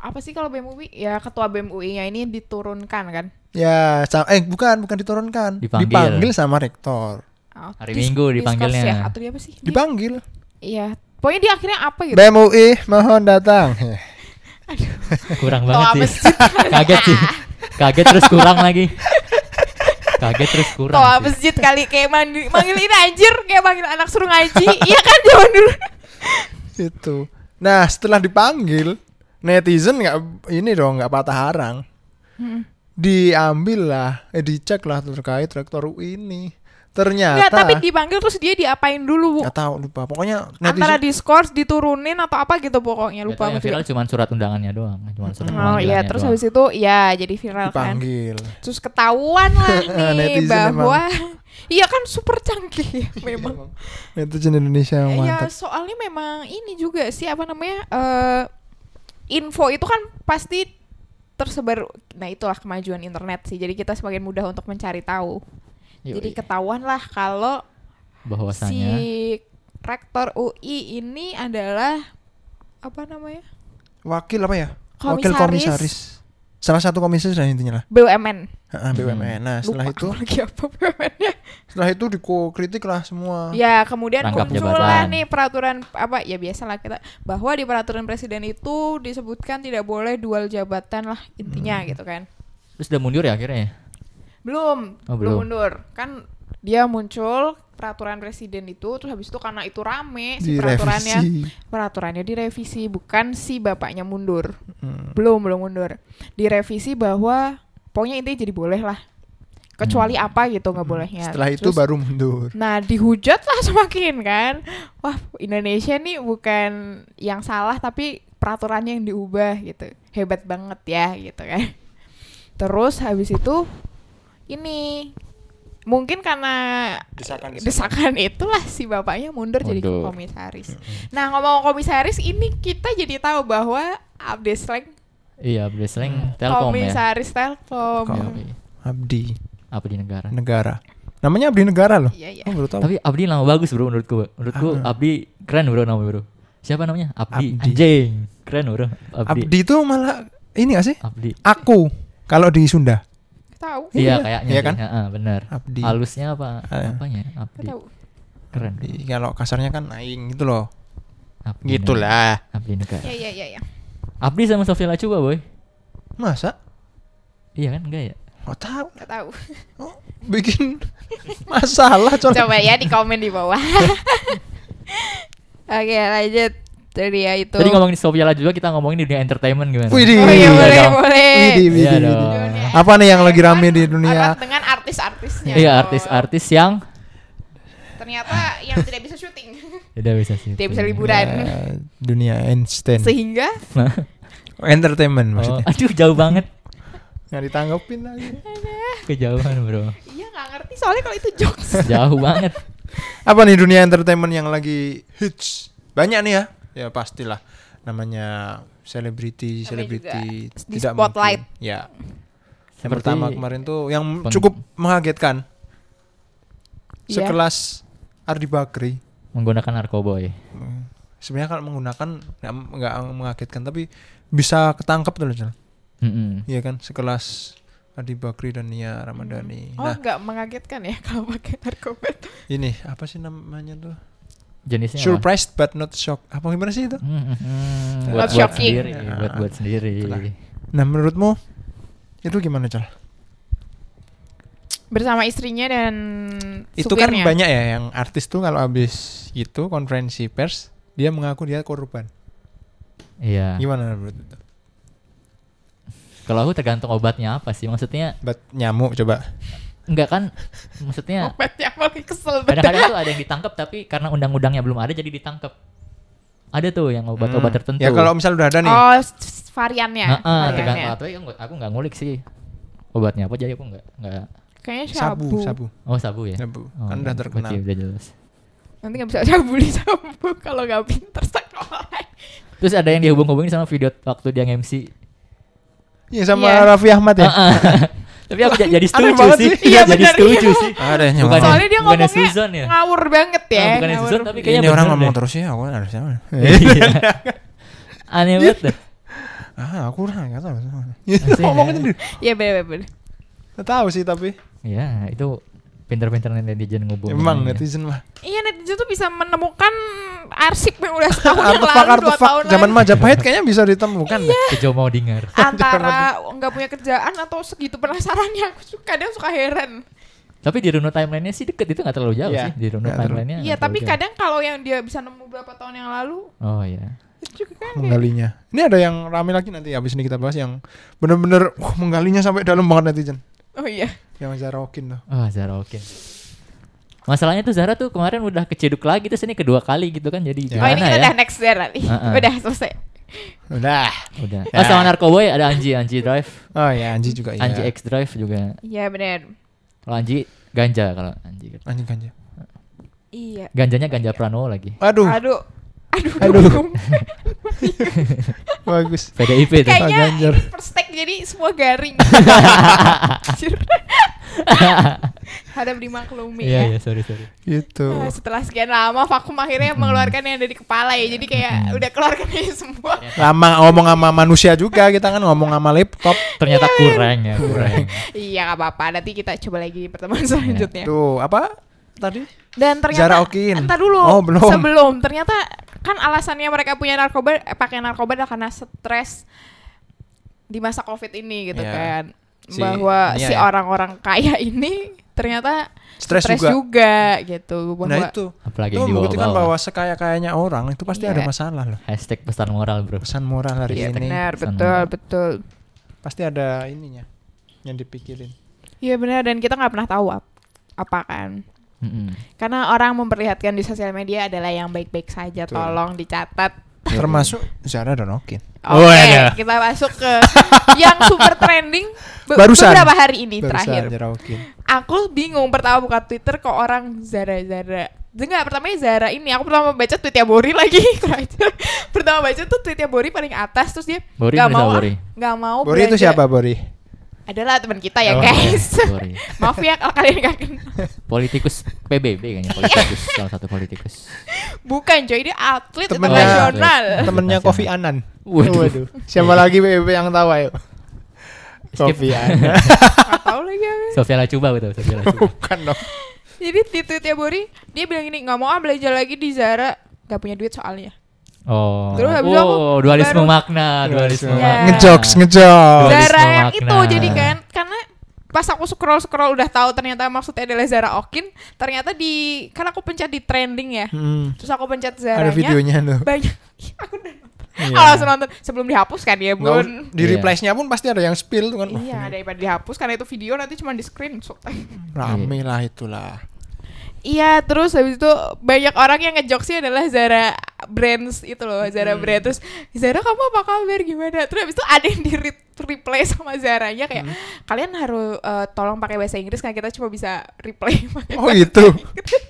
Speaker 1: apa sih kalau BMUI? Ya ketua BMUI-nya ini diturunkan kan.
Speaker 2: Ya, sa- eh bukan, bukan diturunkan.
Speaker 3: Dipanggil.
Speaker 2: sama rektor.
Speaker 1: Oh,
Speaker 3: Hari
Speaker 1: dis-
Speaker 3: Minggu
Speaker 1: diskors
Speaker 3: dipanggilnya.
Speaker 1: ya, atau dia apa sih? Dia-
Speaker 2: Dipanggil.
Speaker 1: Iya. Pokoknya dia akhirnya apa gitu?
Speaker 2: BEM UI mohon datang.
Speaker 3: Kurang
Speaker 1: Atau apa
Speaker 3: banget
Speaker 1: sih?
Speaker 3: sih. Kaget sih. Kaget terus kurang lagi. Kaget terus kurang.
Speaker 1: Toa
Speaker 3: sih.
Speaker 1: masjid kali kayak mandi manggil ini anjir kayak manggil anak suruh ngaji. iya kan zaman dulu.
Speaker 2: itu nah setelah dipanggil netizen nggak ini dong nggak patah harang diambil lah eh dicek lah terkait rektor UI ini ternyata
Speaker 1: Enggak, tapi dipanggil terus dia diapain dulu? Bu?
Speaker 2: nggak tahu lupa pokoknya
Speaker 1: Antara
Speaker 2: netizen
Speaker 1: diskors diturunin atau apa gitu pokoknya
Speaker 3: Nggak
Speaker 1: lupa
Speaker 3: tahu, yang
Speaker 1: aku juga.
Speaker 3: viral cuma surat undangannya doang, cuma
Speaker 1: Oh
Speaker 3: surat
Speaker 1: iya,
Speaker 3: pemanggilannya
Speaker 1: terus
Speaker 3: doang.
Speaker 1: habis itu ya jadi viral kan.
Speaker 2: dipanggil
Speaker 1: Terus ketahuan lah nih
Speaker 2: Netizen Iya,
Speaker 1: bahwa iya kan super canggih ya, memang.
Speaker 2: netizen Indonesia yang
Speaker 1: Ya
Speaker 2: mantap
Speaker 1: soalnya memang ini juga sih apa namanya eh info itu kan pasti tersebar. Nah itulah kemajuan internet sih. Jadi kita semakin mudah untuk mencari tahu.
Speaker 3: Yuk,
Speaker 1: Jadi
Speaker 3: yuk.
Speaker 1: ketahuan lah kalau si
Speaker 3: bahwasannya
Speaker 1: rektor UI ini adalah apa namanya
Speaker 2: wakil apa ya wakil
Speaker 1: Komisaris.
Speaker 2: komisaris salah satu komisaris lah intinya lah
Speaker 1: BUMN.
Speaker 2: Heeh, BUMN nah setelah
Speaker 1: Lupa
Speaker 2: itu
Speaker 1: aku lagi apa BUMN-nya.
Speaker 2: setelah itu dikritik lah semua
Speaker 1: Ya, kemuan
Speaker 3: Rangkap
Speaker 1: muncullah
Speaker 3: jabatan.
Speaker 1: nih peraturan apa ya biasalah kita bahwa di peraturan presiden itu disebutkan tidak boleh dual jabatan lah
Speaker 3: Hmm.
Speaker 1: intinya gitu kan.
Speaker 3: terus udah mundur ya akhirnya ya?
Speaker 1: Belum,
Speaker 3: Oh,
Speaker 1: belum
Speaker 3: belum.
Speaker 1: mundur. Kan dia muncul peraturan presiden itu terus habis itu karena itu rame si peraturannya
Speaker 2: direvisi
Speaker 1: peraturannya direvisi bukan si bapaknya mundur.
Speaker 2: Hmm.
Speaker 1: Belum, belum mundur. Direvisi bahwa pokoknya intinya jadi boleh lah. Kecuali apa gitu nggak bolehnya.
Speaker 2: Hmm. setelah itu
Speaker 1: Terus-
Speaker 2: baru mundur
Speaker 1: Nah, dihujat lah semakin kan. Wah, Indonesia nih bukan yang salah tapi peraturannya yang diubah gitu. Hebat banget ya gitu kan. Terus habis itu ini mungkin karena
Speaker 2: Desakan- desakan.
Speaker 1: desakan itulah si bapaknya mundur, jadi
Speaker 3: Mundur.
Speaker 1: komisaris. Nah ngomong komisaris ini kita jadi tahu bahwa update slang Hmm.
Speaker 3: Iya, Bresling Telkom ya.
Speaker 1: komisaris Telkom.
Speaker 2: Telkom.
Speaker 3: Iya,
Speaker 2: Abdi
Speaker 3: Apa di negara?
Speaker 2: Negara. Namanya Abdi Negara loh.
Speaker 1: Iya iya.
Speaker 2: Oh, baru tahu.
Speaker 3: Tapi Abdi nama bagus bro menurut gua. Menurut gua
Speaker 2: Ah.
Speaker 3: Abdi keren bro namanya bro. Siapa namanya? Abdi.
Speaker 2: Abdi.
Speaker 3: Anjing. Keren bro. Abdi.
Speaker 2: Abdi itu malah ini gak sih?
Speaker 3: Abdi.
Speaker 2: Aku kalau di Sunda.
Speaker 1: Tahu.
Speaker 2: Iya,
Speaker 3: Iya kayaknya.
Speaker 2: iya kan?
Speaker 3: sih. Heeh, bener.
Speaker 2: Abdi.
Speaker 3: Halusnya apa?
Speaker 2: Ah.
Speaker 3: Apanya? Abdi.
Speaker 1: Tahu.
Speaker 3: Keren. bro.
Speaker 2: Abdi, Kalau kasarnya kan aing gitu loh.
Speaker 3: Abdi negara.
Speaker 2: Gitulah.
Speaker 3: Abdi negara.
Speaker 1: Iya iya iya. iya.
Speaker 3: Abdi sama Sofia Lacuba boy.
Speaker 2: Masa?
Speaker 3: Iya kan enggak ya?
Speaker 2: Oh tahu.
Speaker 1: Nggak tahu.
Speaker 2: Oh, bikin masalah coy.
Speaker 1: Coba ya di komen di bawah. Oke lanjut dari ya itu.
Speaker 3: Tadi ngomongin Sofia Lacuba kita ngomongin di dunia entertainment gimana?
Speaker 2: Widih.
Speaker 1: Oh iya
Speaker 2: Iya
Speaker 1: boleh
Speaker 3: dong.
Speaker 1: boleh.
Speaker 2: Widih, widih,
Speaker 3: Iya
Speaker 2: widih.
Speaker 3: dong.
Speaker 1: Dunia
Speaker 2: Apa nih yang lagi rame di
Speaker 1: entertainment
Speaker 2: dunia?
Speaker 1: erat dengan artis-artisnya.
Speaker 3: Iya
Speaker 1: dong.
Speaker 3: artis-artis yang
Speaker 1: Ternyata yang tidak bisa syuting,
Speaker 3: tidak Ya bisa sih. Iya.
Speaker 1: tidak bisa liburan.
Speaker 2: Eh, dunia instant.
Speaker 1: Sehingga
Speaker 2: Entertainment maksudnya.
Speaker 3: Oh, aduh jauh banget
Speaker 2: Nggak ditanggepin lagi.
Speaker 3: kejauhan bro.
Speaker 1: iya nggak ngerti soalnya kalau itu jokes.
Speaker 3: Jauh banget.
Speaker 2: Apa nih dunia entertainment yang lagi hits? Banyak nih ya. Ya pastilah namanya selebriti,
Speaker 1: Namanya
Speaker 2: selebriti
Speaker 1: juga di spotlight.
Speaker 2: mungkin. Ya. Yang
Speaker 3: Seperti
Speaker 2: pertama kemarin tuh yang
Speaker 3: Peng-
Speaker 2: cukup mengagetkan.
Speaker 1: Iya.
Speaker 2: Sekelas Ardi Bakri
Speaker 3: menggunakan ya. narkoboy.
Speaker 2: sebenarnya kalau menggunakan nggak nggak mengagetkan tapi bisa ketangkap tuh loh Jal.
Speaker 3: Mm-mm.
Speaker 2: Iya kan sekelas Ardi Bakri dan Nia Ramadhani.
Speaker 1: Oh
Speaker 2: Nah,
Speaker 1: nggak mengagetkan ya kalau pakai narkoba tuh.
Speaker 2: ini apa sih namanya tuh?
Speaker 3: Jenisnya apa?
Speaker 2: Surprised but not shocked. Apa gimana sih itu?
Speaker 3: Mm-mm.
Speaker 1: Love
Speaker 3: buat buat
Speaker 1: shocking.
Speaker 3: sendiri, buat buat sendiri.
Speaker 2: Iya. Itulah. Nah, menurutmu itu gimana, Cal?
Speaker 1: Bersama istrinya dan
Speaker 2: Itu kan
Speaker 1: supirnya.
Speaker 2: banyak ya yang artis tuh kalau habis itu konferensi pers, dia mengaku dia korban.
Speaker 3: Iya.
Speaker 2: Gimana menurut itu?
Speaker 3: Kalau aku tergantung obatnya apa sih? Maksudnya
Speaker 2: Bat nyamuk coba.
Speaker 3: enggak kan?
Speaker 2: Oh,
Speaker 3: Maksudnya
Speaker 1: Obatnya apalagi kesel banget.
Speaker 3: kadang-kadang tuh ada yang ditangkap tapi karena undang-undangnya belum ada jadi ditangkap. Ada tuh yang obat-obat
Speaker 2: Hmm.
Speaker 3: tertentu.
Speaker 2: Ya kalau misal udah ada nih.
Speaker 1: Oh s- s- variannya.
Speaker 3: Heeh, kan.
Speaker 1: variannya.
Speaker 3: tergantung. Tapi aku nggak- aku nggak ngulik sih obatnya apa jadi aku nggak nggak.
Speaker 1: Kayaknya
Speaker 2: sabu,
Speaker 1: sabu.
Speaker 2: sabu,
Speaker 3: Oh sabu ya.
Speaker 2: sabu.
Speaker 3: Oh,
Speaker 2: kan udah
Speaker 3: iya.
Speaker 2: terkenal.
Speaker 3: Berarti udah jelas.
Speaker 1: Nanti nggak bisa sabu di sabu kalau nggak pinter sekolah.
Speaker 3: Terus ada yang dihubung-hubungin sama video waktu dia MC.
Speaker 2: Iya sama
Speaker 1: Iya.
Speaker 2: Raffi Ahmad ya.
Speaker 3: Tapi aku jadi
Speaker 2: Aneh
Speaker 3: setuju
Speaker 2: banget
Speaker 3: sih.
Speaker 2: sih.
Speaker 1: Iya,
Speaker 3: jadi
Speaker 1: bener,
Speaker 3: setuju
Speaker 1: iya.
Speaker 3: sih.
Speaker 2: Ada yang
Speaker 3: Bukannya-
Speaker 1: Soalnya dia
Speaker 3: bukannya
Speaker 1: ngomongnya
Speaker 3: Susan ya?
Speaker 1: ngawur banget ya.
Speaker 3: Ah, bukan yang
Speaker 1: ngawur.
Speaker 3: Susan tapi kayaknya
Speaker 2: Ini orang
Speaker 3: bener
Speaker 2: ngomong
Speaker 3: deh.
Speaker 2: terus ya, aku harus sama.
Speaker 3: Iya. Aneh banget dah.
Speaker 2: ah, aku orang nggak tahu.
Speaker 3: Maksudnya-
Speaker 2: Ngomongnya sendiri.
Speaker 1: Iya bener-bener.
Speaker 2: Nggak tahu sih tapi
Speaker 3: Iya, itu pinter-pinter netizen ngubungin.
Speaker 2: emang
Speaker 3: aja.
Speaker 2: netizen mah.
Speaker 1: Iya netizen tuh bisa menemukan arsip yang udah setahun yang lalu, dua tahun
Speaker 2: Artefak-artefak zaman
Speaker 1: lalu.
Speaker 2: Majapahit kayaknya bisa ditemukan deh.
Speaker 3: Kejo mau dengar.
Speaker 1: antara nggak punya kerjaan atau segitu penasarannya aku suka kadang suka heran
Speaker 3: Tapi di runut timelinenya sih deket itu nggak terlalu jauh
Speaker 2: Iya,
Speaker 3: sih di runut
Speaker 2: nggak terlalu-
Speaker 3: timelinenya.
Speaker 1: iya
Speaker 3: Ya, nggak
Speaker 1: tapi
Speaker 3: terlalu
Speaker 1: kadang kalau yang dia bisa nemu berapa tahun yang lalu
Speaker 3: jauh. Oh iya.
Speaker 1: itu juga kan kayak,
Speaker 2: menggalinya. Ini ada yang rame lagi nanti habis ini kita bahas yang bener-bener wah, menggalinya sampai dalam banget netizen.
Speaker 1: oh iya
Speaker 2: Yang Zarokin tuh.
Speaker 3: Oh Zara oke. Masalahnya tuh Zara tuh kemarin udah keciduk lagi terus ini kedua kali gitu kan jadi
Speaker 1: oh
Speaker 2: Ya.
Speaker 3: gimana
Speaker 1: ini kita
Speaker 3: ya?
Speaker 1: udah next day nanti
Speaker 3: Heeh.
Speaker 1: udah selesai
Speaker 2: Udah.
Speaker 3: Udah. Oh,
Speaker 2: Iya.
Speaker 3: sama narkoboy ada Anji, Anji Drive,
Speaker 2: Oh ya Anji juga ya.
Speaker 3: Anji X Drive juga.
Speaker 1: iya benar
Speaker 3: Kalau Anji ganja kalau Anji. gitu.
Speaker 2: Anji ganja.
Speaker 1: iya
Speaker 3: Ganjanya ganja Pranowo lagi.
Speaker 2: Aduh,
Speaker 1: aduh aduh
Speaker 2: Aduh.
Speaker 1: dukung.
Speaker 2: bagus.
Speaker 3: PDIP itu.
Speaker 2: Kayak-
Speaker 1: kayaknya
Speaker 2: Ganjar.
Speaker 1: ini first take jadi semua garing Anjir. hadap dimaklumi ya
Speaker 3: Iya, iya, sorry, sorry.
Speaker 2: Gitu.
Speaker 1: Ah, setelah sekian lama vakum akhirnya
Speaker 2: Hmm.
Speaker 1: mengeluarkan yang ada di kepala ya jadi kayak udah keluarkan aja semua
Speaker 2: Iya. Lama ngomong sama manusia juga kita kan ngomong sama laptop.
Speaker 3: Ternyata kurang ya, kurang.
Speaker 1: iya gak apa-apa nanti kita coba lagi di pertemuan selanjutnya
Speaker 2: Tuh, apa tadi?
Speaker 1: dan
Speaker 2: Zara
Speaker 1: ternyata
Speaker 2: Okin.
Speaker 1: entar dulu
Speaker 2: Oh, belum.
Speaker 1: sebelum ternyata kan alasannya mereka punya narkoba eh, pakai narkoba adalah karena stres di masa covid ini gitu
Speaker 2: Iya.
Speaker 1: kan
Speaker 2: Si
Speaker 1: bahwa
Speaker 2: Nia
Speaker 1: si
Speaker 2: ya.
Speaker 1: orang-orang kaya ini ternyata
Speaker 2: Stres
Speaker 1: stres juga.
Speaker 2: juga.
Speaker 1: gitu bahwa
Speaker 2: Nah itu.
Speaker 3: Apalagi
Speaker 2: itu
Speaker 3: yang
Speaker 2: membuktikan
Speaker 3: dibawa-bawa.
Speaker 2: bahwa sekaya-kayanya orang itu pasti
Speaker 1: Iya.
Speaker 2: ada masalah loh.
Speaker 3: Hashtag pesan moral, Bro.
Speaker 2: Pesan moral hari
Speaker 1: Iya,
Speaker 2: ini
Speaker 1: benar
Speaker 3: Pesan
Speaker 1: betul
Speaker 3: moral.
Speaker 1: betul
Speaker 2: pasti ada ininya yang dipikirin.
Speaker 1: iya benar dan kita nggak pernah tahu ap- apa kan
Speaker 3: Mm-mm.
Speaker 1: Karena orang memperlihatkan di sosial media adalah yang baik-baik saja,
Speaker 2: Betul.
Speaker 1: tolong dicatat.
Speaker 3: Iya,
Speaker 2: termasuk Zara Danokin.
Speaker 1: Oke,
Speaker 2: Wadah.
Speaker 1: kita masuk ke yang super trending be-
Speaker 2: Barusan.
Speaker 1: beberapa hari ini
Speaker 2: Barusan
Speaker 1: terakhir.
Speaker 2: Zara Danokin.
Speaker 1: Aku bingung pertama buka Twitter kok orang Zara Zara. Enggak, pertamanya ya Zara ini. Aku pertama baca tweetnya Bori lagi. kurang ajar. pertama baca tuh tweetnya Bori paling atas terus dia
Speaker 3: Bori
Speaker 1: nggak
Speaker 3: pemirsa
Speaker 1: mau ah,
Speaker 3: Bori.
Speaker 1: nggak mau
Speaker 2: Bori
Speaker 1: Oh,
Speaker 2: itu
Speaker 1: belanja."
Speaker 2: siapa Bori?
Speaker 1: Adalah teman kita ya,
Speaker 3: Oh,
Speaker 1: guys.
Speaker 3: iya, Bori.
Speaker 1: Maaf ya kalau kalian gak kenal.
Speaker 3: Politikus PBB kayaknya politikus salah satu politikus.
Speaker 1: Bukan, coy, dia atlet
Speaker 2: Temennya-
Speaker 1: internasional.
Speaker 2: Temennya Kofi Anan.
Speaker 3: Waduh.
Speaker 2: Siapa lagi BB yang tahu ayo?
Speaker 3: Skip.
Speaker 2: Kofi Anan.
Speaker 1: Gak tahu lagi aku.
Speaker 3: Sofia Lacuba betul Sofia Lacuba.
Speaker 2: Bukan dong.
Speaker 1: Jadi di tweetnya Bori, dia bilang gini, nggak mau ah belanja lagi di Zara. Gak punya duit soalnya.
Speaker 3: Oh.
Speaker 1: Terus habis itu aku
Speaker 3: oh, dualisme
Speaker 1: baru-
Speaker 3: makna,
Speaker 2: Iya.
Speaker 3: dualisme
Speaker 1: Ya.
Speaker 3: makna.
Speaker 2: Ngejokes, ngejokes.
Speaker 3: Dualisme
Speaker 1: Zara yang
Speaker 3: makna.
Speaker 1: itu jadi kan karena pas aku scroll scroll udah tahu ternyata maksudnya adalah Zara Okin ternyata di kan aku pencet di trending ya
Speaker 2: Hmm,
Speaker 1: terus aku pencet
Speaker 2: ada
Speaker 1: Zaranya
Speaker 2: videonya tuh.
Speaker 1: banyak Iya, aku udah nonton.
Speaker 2: Iya.
Speaker 1: Aku langsung nonton sebelum dihapus kan ya
Speaker 2: Nggak
Speaker 1: bun
Speaker 2: us- di
Speaker 3: Iya.
Speaker 2: replace-nya pun pasti ada yang spill tuh kan. Wah,
Speaker 1: iya
Speaker 2: ini
Speaker 1: daripada dihapus karena itu video nanti cuma di screenshot
Speaker 2: Rame lah itulah.
Speaker 1: Iya, terus habis itu banyak orang yang ngejokesnya adalah Zara Brands itu loh, Zara
Speaker 3: Hmm.
Speaker 1: Brands. Terus Zara kamu apa kabar gimana? Terus habis itu ada yang di re- reply sama Zaranya kayak
Speaker 3: Hmm.
Speaker 1: kalian harus eh, tolong pakai bahasa Inggris karena kita cuma bisa reply. pakai
Speaker 2: Oh
Speaker 1: bahasa
Speaker 2: gitu.
Speaker 1: Inggris."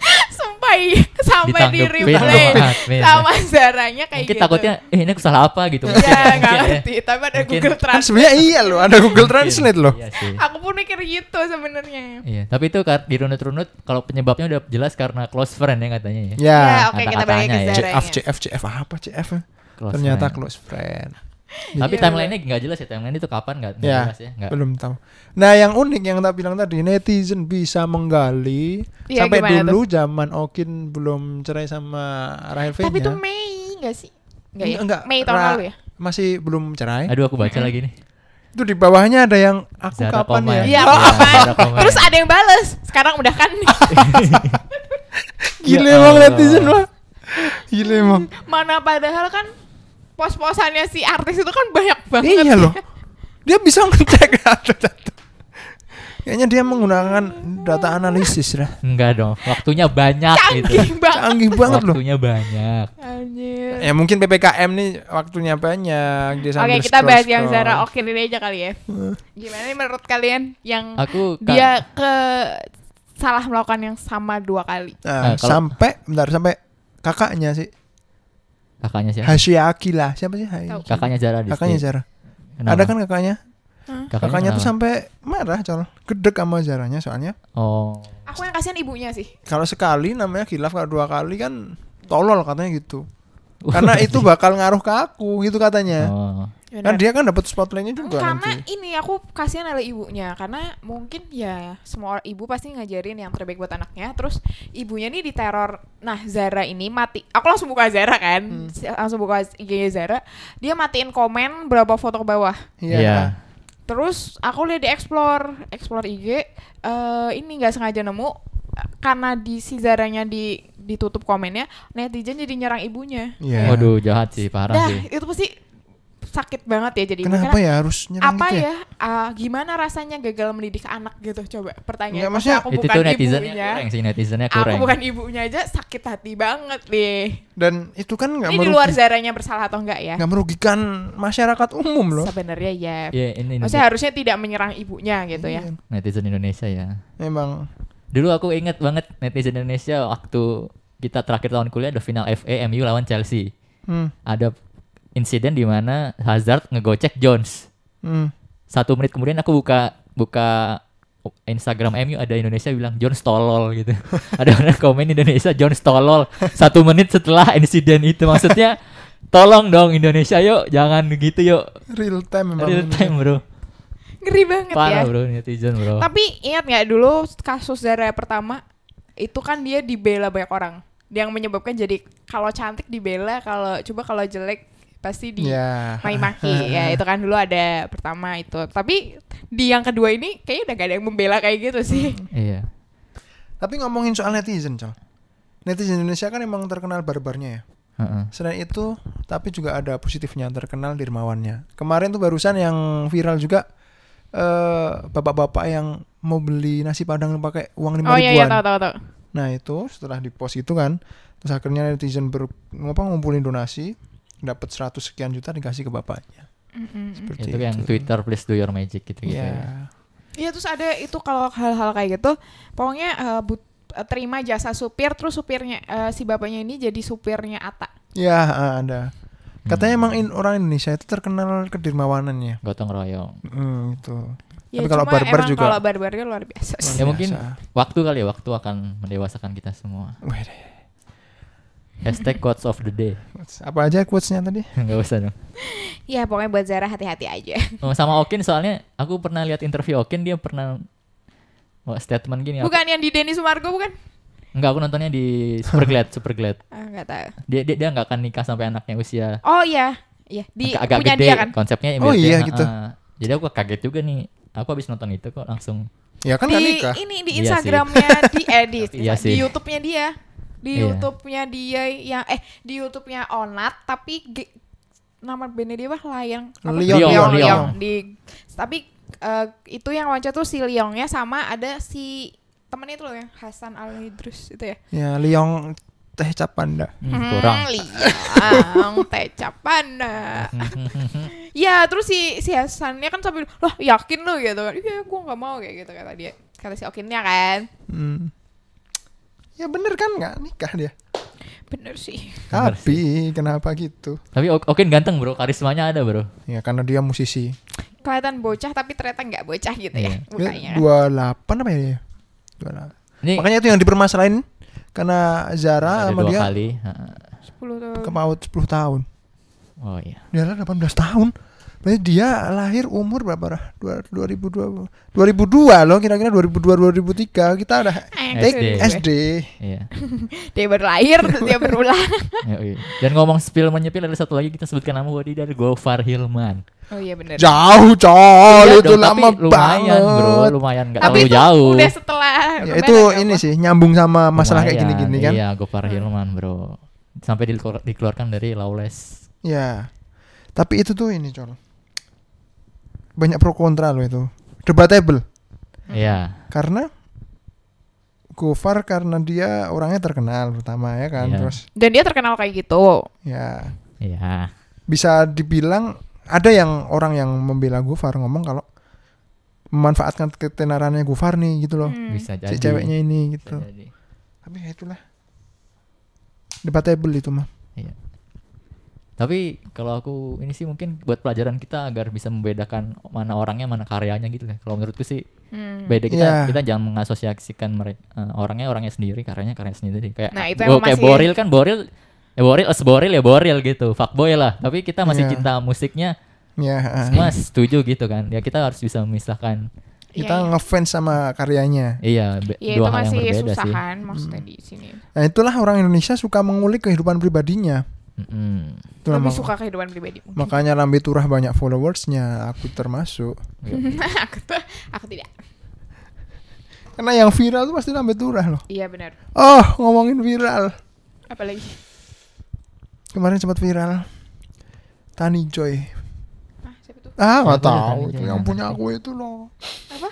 Speaker 1: sampai sampai di
Speaker 3: Ditanggepin
Speaker 1: reply
Speaker 3: sama admin.
Speaker 1: sama Zaranya kayak
Speaker 3: Mungkin
Speaker 1: gitu.
Speaker 3: takutnya eh ini aku salah apa gitu. mungkin
Speaker 1: Iya,
Speaker 3: ya,
Speaker 1: nggak
Speaker 3: mungkin ya.
Speaker 1: ngerti. Tapi ada
Speaker 3: Mungkin.
Speaker 1: Google
Speaker 2: Kan
Speaker 1: Translate.
Speaker 2: sebenarnya iya loh, ada Google Translate loh.
Speaker 3: Iya sih.
Speaker 1: Aku pun mikir gitu sebenarnya.
Speaker 3: Iya, tapi itu kar- dirunut-runut kalau penyebabnya udah jelas karena close friend ya katanya ya.
Speaker 1: Ya,
Speaker 2: Ya.
Speaker 1: oke kita balik ke
Speaker 3: Kata-katanya ya.
Speaker 1: Zara.
Speaker 2: CF, CF, CF apa CF?
Speaker 3: Close
Speaker 2: Ternyata
Speaker 3: friend.
Speaker 2: close friend.
Speaker 3: Tapi
Speaker 1: Iya,
Speaker 3: timelinenya nggak jelas ya timeline itu kapan nggak nggak
Speaker 2: Ya,
Speaker 3: jelas ya. Nggak.
Speaker 2: belum tahu. Nah, yang unik yang tak bilang tadi, netizen bisa menggali
Speaker 1: Iya,
Speaker 2: sampai
Speaker 1: gimana
Speaker 2: dulu zaman Okin belum cerai sama Rahel V-nya.
Speaker 1: Tapi itu Mei enggak sih? Enggak ya?
Speaker 2: ya. Enggak,
Speaker 1: Mei tahun
Speaker 2: Ra-
Speaker 1: lalu ya?
Speaker 2: Masih belum cerai.
Speaker 3: Aduh aku baca lagi nih.
Speaker 2: Itu di bawahnya ada yang aku
Speaker 3: Zara
Speaker 2: kapan
Speaker 3: Komen.
Speaker 2: ya?
Speaker 1: Iya,
Speaker 3: Iya,
Speaker 1: apa?
Speaker 3: ada komen.
Speaker 1: Terus ada yang bales. Sekarang udah kan
Speaker 2: Gile
Speaker 3: Ya
Speaker 2: emang
Speaker 3: Allah.
Speaker 2: netizen mah. Gile emang.
Speaker 1: mana padahal kan pos-posannya si artis itu kan banyak banget.
Speaker 2: Iya loh. Dia bisa ngecek data-data. Kayaknya dia menggunakan data analisis lah.
Speaker 3: Enggak dong. Waktunya banyak gitu.
Speaker 1: Canggih banget.
Speaker 2: Canggih banget loh.
Speaker 3: Waktunya banyak.
Speaker 1: Anjir.
Speaker 2: Ya mungkin PPKM nih waktunya banyak. Dia
Speaker 1: Oke,
Speaker 2: sambil
Speaker 1: kita bahas yang
Speaker 2: scroll-scroll.
Speaker 1: Zara Okin ini aja kali ya. Gimana nih menurut kalian yang
Speaker 3: Aku ka-
Speaker 1: Mm. dia ke salah melakukan yang sama dua kali?
Speaker 2: Nah,
Speaker 3: Nah, kalau-
Speaker 2: sampai bentar sampai kakaknya sih
Speaker 3: kakaknya siapa?
Speaker 2: Hasyiaki lah. Siapa sih? Hai-
Speaker 1: Tahu.
Speaker 3: Kakaknya Zara di
Speaker 2: Kakaknya
Speaker 3: state.
Speaker 2: Zara.
Speaker 3: Kenapa?
Speaker 2: Ada kan kakaknya?
Speaker 3: Kakaknya,
Speaker 2: Kakaknya tuh
Speaker 3: kenapa?
Speaker 2: sampai marah, Col. Gedek sama Zaranya soalnya.
Speaker 3: Oh.
Speaker 1: Aku yang kasihan ibunya sih.
Speaker 2: Kalau sekali namanya khilaf kalau dua kali kan tolol katanya gitu. Karena itu bakal ngaruh ke aku gitu katanya.
Speaker 3: iya. Oh.
Speaker 2: Kan dia kan dapat spotlightnya
Speaker 1: Hmm,
Speaker 2: juga
Speaker 1: Karena
Speaker 2: nanti.
Speaker 1: ini aku kasihan oleh ibunya karena mungkin ya semua or- ibu pasti ngajarin yang terbaik buat anaknya terus ibunya nih diteror nah Zara ini mati aku langsung buka Zara
Speaker 2: Hmm.
Speaker 1: kan Si- langsung buka IG Zara dia matiin komen berapa foto ke bawah
Speaker 3: Iya.
Speaker 1: terus aku lihat di explore explore IG eh ini nggak sengaja nemu eh, karena di si Zaranya di ditutup komennya netizen jadi nyerang ibunya
Speaker 2: Iya.
Speaker 3: Waduh jahat sih parah
Speaker 1: dah
Speaker 3: sih.
Speaker 1: itu pasti sakit banget ya jadi ibu.
Speaker 2: Kenapa
Speaker 1: Karena-
Speaker 2: ya harus nyerang
Speaker 1: apa
Speaker 2: gitu
Speaker 1: ya, ah, gimana rasanya gagal mendidik anak gitu coba pertanyaan
Speaker 2: Nggak, maksudnya
Speaker 1: aku
Speaker 3: itu
Speaker 1: bukan
Speaker 3: tuh netizennya
Speaker 1: ibunya
Speaker 3: kurang sih netizennya
Speaker 1: aku
Speaker 3: kurang.
Speaker 1: bukan ibunya aja sakit hati banget deh
Speaker 2: Dan itu kan nggak
Speaker 1: ini di
Speaker 2: merugi-
Speaker 1: luar zaranya bersalah atau enggak ya
Speaker 2: nggak merugikan masyarakat umum loh.
Speaker 1: sebenarnya ya
Speaker 3: Iya ini
Speaker 1: maksudnya harusnya tidak menyerang ibunya gitu ya
Speaker 2: Iya.
Speaker 3: netizen Indonesia ya.
Speaker 2: Memang.
Speaker 3: Dulu aku inget banget netizen Indonesia waktu kita terakhir tahun kuliah ada final FA MU lawan Chelsea.
Speaker 2: Hmm.
Speaker 3: Ada insiden di mana Hazard ngegocek Jones.
Speaker 2: Hmm.
Speaker 3: Satu menit kemudian aku buka buka Instagram MU ada Indonesia bilang Jones tolol gitu. ada orang komen Indonesia Jones tolol. Satu menit setelah insiden itu maksudnya tolong dong Indonesia yuk jangan begitu yuk
Speaker 2: Real time memang.
Speaker 3: real time bro.
Speaker 1: ngeri banget ya
Speaker 3: Parah bro netizen bro.
Speaker 1: tapi ingat nggak dulu kasus zara pertama itu kan dia dibela banyak orang yang menyebabkan jadi kalau cantik dibela kalau coba kalau jelek pasti di
Speaker 2: Ya.
Speaker 1: maki-maki ya itu kan dulu ada pertama itu tapi di yang kedua ini kayaknya udah gak ada yang membela kayak gitu sih
Speaker 3: Iya.
Speaker 2: Tapi ngomongin soal netizen, Col. Netizen Indonesia kan emang terkenal barbarnya ya.
Speaker 3: Heeh.
Speaker 2: Selain itu, tapi juga ada positifnya terkenal dermawannya. Kemarin tuh barusan yang viral juga eh bapak-bapak yang mau beli nasi padang pakai uang lima
Speaker 1: oh iya iya
Speaker 2: ribuan.
Speaker 1: tahu tahu tahu
Speaker 2: Nah itu setelah di post itu kan, terus akhirnya netizen ber, ngapa ngumpulin donasi, dapat 100 sekian juta dikasih ke bapaknya. Seperti
Speaker 3: itu yang Twitter please do your magic gitu gitu. ya.
Speaker 2: Ya.
Speaker 1: Iya terus ada itu kalau hal-hal kayak gitu, pokoknya eh, but- eh, terima jasa supir terus supirnya eh, si bapaknya ini jadi supirnya Ata.
Speaker 2: Ya, ah, ada. Katanya
Speaker 3: Hmm.
Speaker 2: emang in- orang Indonesia itu terkenal kedermawanannya.
Speaker 3: Gotong royong.
Speaker 2: Hmm, gitu.
Speaker 1: Ya,
Speaker 2: Tapi kalau
Speaker 1: cuma
Speaker 2: barbar
Speaker 1: emang
Speaker 2: juga. Hmm.
Speaker 1: Kalau barbarnya luar biasa. sih.
Speaker 3: Ya mungkin
Speaker 2: Biasa.
Speaker 3: waktu kali ya, waktu akan mendewasakan kita semua.
Speaker 2: Wede.
Speaker 3: Hashtag quotes of the day.
Speaker 2: Quotes. Apa aja quotes-nya tadi?
Speaker 3: Enggak usah dong.
Speaker 1: Ya pokoknya buat Zara hati-hati aja.
Speaker 3: Oh, sama Okin soalnya aku pernah lihat interview Okin dia pernah oh, statement
Speaker 2: Iya.
Speaker 3: gini. aku-
Speaker 1: Bukan yang di Denny Sumargo bukan?
Speaker 3: enggak aku nontonnya di Superglad, Superglad.
Speaker 1: Ah, nggak tahu.
Speaker 3: Dia dia dia enggak akan nikah sampai anaknya usia
Speaker 1: Oh iya, iya di
Speaker 3: agak, agak
Speaker 1: punya
Speaker 3: gede
Speaker 1: dia kan.
Speaker 3: konsepnya
Speaker 2: Oh,
Speaker 3: berarti,
Speaker 2: iya,
Speaker 3: ah,
Speaker 2: gitu.
Speaker 3: ah. jadi aku kaget juga nih aku habis nonton itu kok langsung
Speaker 2: Ya kan
Speaker 1: di
Speaker 2: nggak nikah.
Speaker 1: ini di
Speaker 3: Iya sih.
Speaker 1: Instagramnya di edit
Speaker 3: Iya
Speaker 1: di
Speaker 3: sih.
Speaker 1: YouTube-nya dia di
Speaker 3: Iya.
Speaker 1: YouTube-nya dia yang eh di YouTube-nya Onat tapi ge- nama bandnya dia apa Layang apa?
Speaker 2: Liong,
Speaker 3: Liong,
Speaker 1: Liong,
Speaker 3: Liong.
Speaker 1: Liong. di tapi eh, itu yang loncat tuh si Liongnya sama ada si temennya itu loh yang Hasan Al Idrus itu ya
Speaker 2: Ya, Liong teh cap panda.
Speaker 3: hmm, kurang
Speaker 1: Hmm, Liang Tecap Panda Ya terus si si Hasannya kan sambil loh yakin lu gitu kan iya gue nggak mau kayak gitu kata dia kata si Okinnya kan
Speaker 2: Hmm. Ya bener kan nggak nikah dia.
Speaker 1: bener sih
Speaker 3: Bener
Speaker 2: Tapi kenapa gitu?
Speaker 3: tapi O- Okin ganteng bro karismanya ada bro
Speaker 2: Ya karena dia musisi.
Speaker 1: kelihatan bocah tapi ternyata nggak bocah gitu ya
Speaker 3: Iya.
Speaker 1: mukanya kan.
Speaker 2: Dua delapan apa ya? dia? 28.
Speaker 3: ini
Speaker 2: Makanya itu yang dipermasalahin karena Zara
Speaker 3: ada
Speaker 2: sama
Speaker 3: dua
Speaker 2: dia
Speaker 3: kali ah, ah.
Speaker 1: 10 tahun
Speaker 2: kemaut 10 tahun.
Speaker 3: oh iya
Speaker 2: Zara 18 tahun. Berarti dia lahir umur berapa? Rah? Dua- 2002 2002 loh kira-kira 2002 2003 kita udah
Speaker 3: SD.
Speaker 1: Eh,
Speaker 2: SD.
Speaker 3: iya
Speaker 1: dia berlahir terus dia berulang
Speaker 3: Ya, iya. dan ngomong spill menyepil ada satu lagi kita sebutkan nama bahwa dia dari Gofar Hilman
Speaker 1: oh iya bener
Speaker 2: Jauh coy,
Speaker 3: Iya
Speaker 2: itu
Speaker 3: dong, tapi
Speaker 2: Oh, lama
Speaker 3: lumayan
Speaker 2: banget.
Speaker 3: bro lumayan nggak
Speaker 1: tapi
Speaker 3: terlalu
Speaker 1: itu
Speaker 3: jauh
Speaker 1: udah setelah
Speaker 2: Ya,
Speaker 1: kemarin kan,
Speaker 2: itu
Speaker 1: apa?
Speaker 2: ini sih nyambung sama masalah kayak
Speaker 3: Lumayan,
Speaker 2: gini-gini kan.
Speaker 3: iya Gofar Hilman bro sampai dikeluar- dikeluarkan dari Lawless
Speaker 2: Ya. Tapi itu tuh ini, Col. Banyak pro kontra loh itu. Debatable. Hmm.
Speaker 3: iya
Speaker 2: Karena Gofar karena dia orangnya terkenal pertama ya kan.
Speaker 3: Iya.
Speaker 2: Terus
Speaker 1: dan dia terkenal kayak gitu
Speaker 2: ya
Speaker 3: iya
Speaker 2: bisa dibilang ada yang orang yang membela Gofar ngomong kalau memanfaatkan ketenarannya Gofar nih gitu loh.
Speaker 1: Hmm.
Speaker 3: Oh, bisa jadi
Speaker 2: Si ceweknya ini
Speaker 3: Bisa
Speaker 2: gitu.
Speaker 3: jadi.
Speaker 2: Tapi ya itulah. Debatable itu mah.
Speaker 3: Iya. Tapi kalau aku ini sih mungkin buat pelajaran kita agar bisa membedakan mana orangnya mana karyanya gitu ya. Kalau menurutku sih
Speaker 1: Hmm.
Speaker 3: beda kita
Speaker 2: Iya.
Speaker 3: kita jangan mengasosiasikan mereka orangnya orangnya sendiri, karyanya karyanya sendiri. Kayak
Speaker 1: Nah, itu
Speaker 3: gua
Speaker 1: emang
Speaker 3: kayak
Speaker 1: masih-
Speaker 3: Boril kan Boril ya Boril as Boril ya Boril gitu. Fuckboy lah. Tapi kita masih
Speaker 2: Iya.
Speaker 3: cinta musiknya,
Speaker 2: Ya.
Speaker 3: semua setuju gitu kan. Ya kita harus bisa memisahkan
Speaker 1: Iya,
Speaker 2: Kita
Speaker 1: iya.
Speaker 2: ngefans sama karyanya.
Speaker 3: iya be-
Speaker 1: ya itu
Speaker 3: dua hal yang
Speaker 1: masih kan.
Speaker 3: berbeda sih. Hmm.
Speaker 1: susahan maksudnya di sini
Speaker 2: Nah itulah orang Indonesia suka mengulik kehidupan pribadinya.
Speaker 3: Mm-mm.
Speaker 2: Itulah
Speaker 1: lebih
Speaker 2: mak-
Speaker 1: suka kehidupan pribadi mungkin.
Speaker 2: Makanya Lambe Turah banyak followersnya, aku termasuk.
Speaker 1: aku tuh aku tidak
Speaker 2: Karena yang viral tuh pasti Lambe Turah loh.
Speaker 1: iya benar
Speaker 2: Oh ngomongin viral,
Speaker 1: apalagi
Speaker 2: kemarin sempat viral. Tani Joy.
Speaker 1: ah siapa tuh
Speaker 2: Ah nggak tahu
Speaker 3: Siapa ya Tani
Speaker 2: itu
Speaker 3: Joy?
Speaker 1: gitu.
Speaker 2: yang punya aku itu loh.
Speaker 1: apa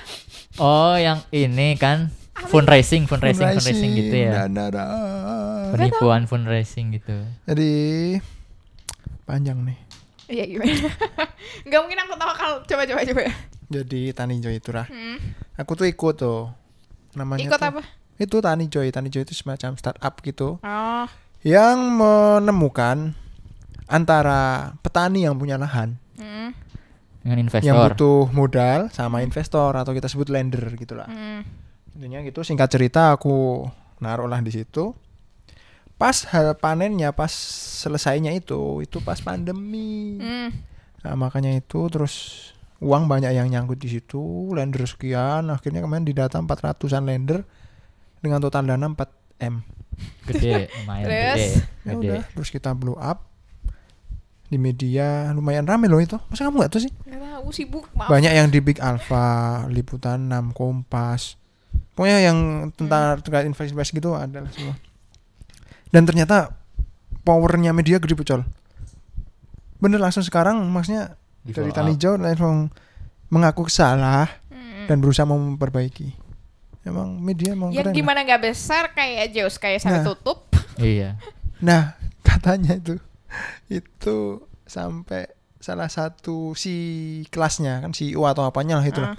Speaker 3: Oh, yang ini kan fundraising, fundraising, fundraising gitu ya.
Speaker 2: Dana, dana.
Speaker 1: Nggak tahu.
Speaker 3: penipuan fundraising gitu.
Speaker 2: nah. Jadi panjang nih.
Speaker 1: Iya gimana? Gak mungkin aku tahu kalau coba coba coba.
Speaker 2: Jadi Tani Joy Turah.
Speaker 1: Hmm.
Speaker 2: Aku tuh ikut tuh. Namanya
Speaker 1: Ikut
Speaker 2: tuh-
Speaker 1: apa?
Speaker 2: Itu Tani Joy. Tani Joy itu semacam startup gitu.
Speaker 1: Oh,
Speaker 2: yang menemukan antara petani yang punya lahan
Speaker 1: hmm.
Speaker 3: dengan
Speaker 2: yang
Speaker 3: investor.
Speaker 2: butuh modal sama investor atau kita sebut lender gitulah.
Speaker 1: Hmm.
Speaker 2: Intinya gitu singkat cerita aku naruhlah di situ. Pas hal panennya, pas selesainya itu, itu pas pandemi.
Speaker 1: Hmm.
Speaker 2: Nah, makanya itu terus uang banyak yang nyangkut di situ, lender sekian, akhirnya kemarin didata 400-an lender dengan total dana 4 M.
Speaker 3: gede, lumayan
Speaker 1: Terus?
Speaker 3: gede.
Speaker 2: ya
Speaker 3: Gede.
Speaker 2: udah terus kita blow up di media lumayan rame loh itu masa kamu nggak tahu sih
Speaker 1: Gak tahu sibuk maaf.
Speaker 2: banyak yang di Big Alpha liputan 6 Kompas pokoknya yang tentang terkait investasi gitu adalah semua dan ternyata powernya media gede pecol bener langsung sekarang maksudnya
Speaker 3: Di
Speaker 2: dari
Speaker 3: follow
Speaker 2: Tani
Speaker 3: up.
Speaker 2: Joy langsung mengaku salah
Speaker 1: Hmm. Ya,
Speaker 2: dan berusaha mau memperbaiki emang media emang
Speaker 1: Yang
Speaker 2: keren lah.
Speaker 1: gimana gak besar kayak Zeus kayak sampai
Speaker 2: Nah.
Speaker 1: tutup.
Speaker 3: Iya.
Speaker 2: Nah, katanya itu itu sampai salah satu si kelasnya kan CEO atau apanya lah itu lah.
Speaker 1: Ah.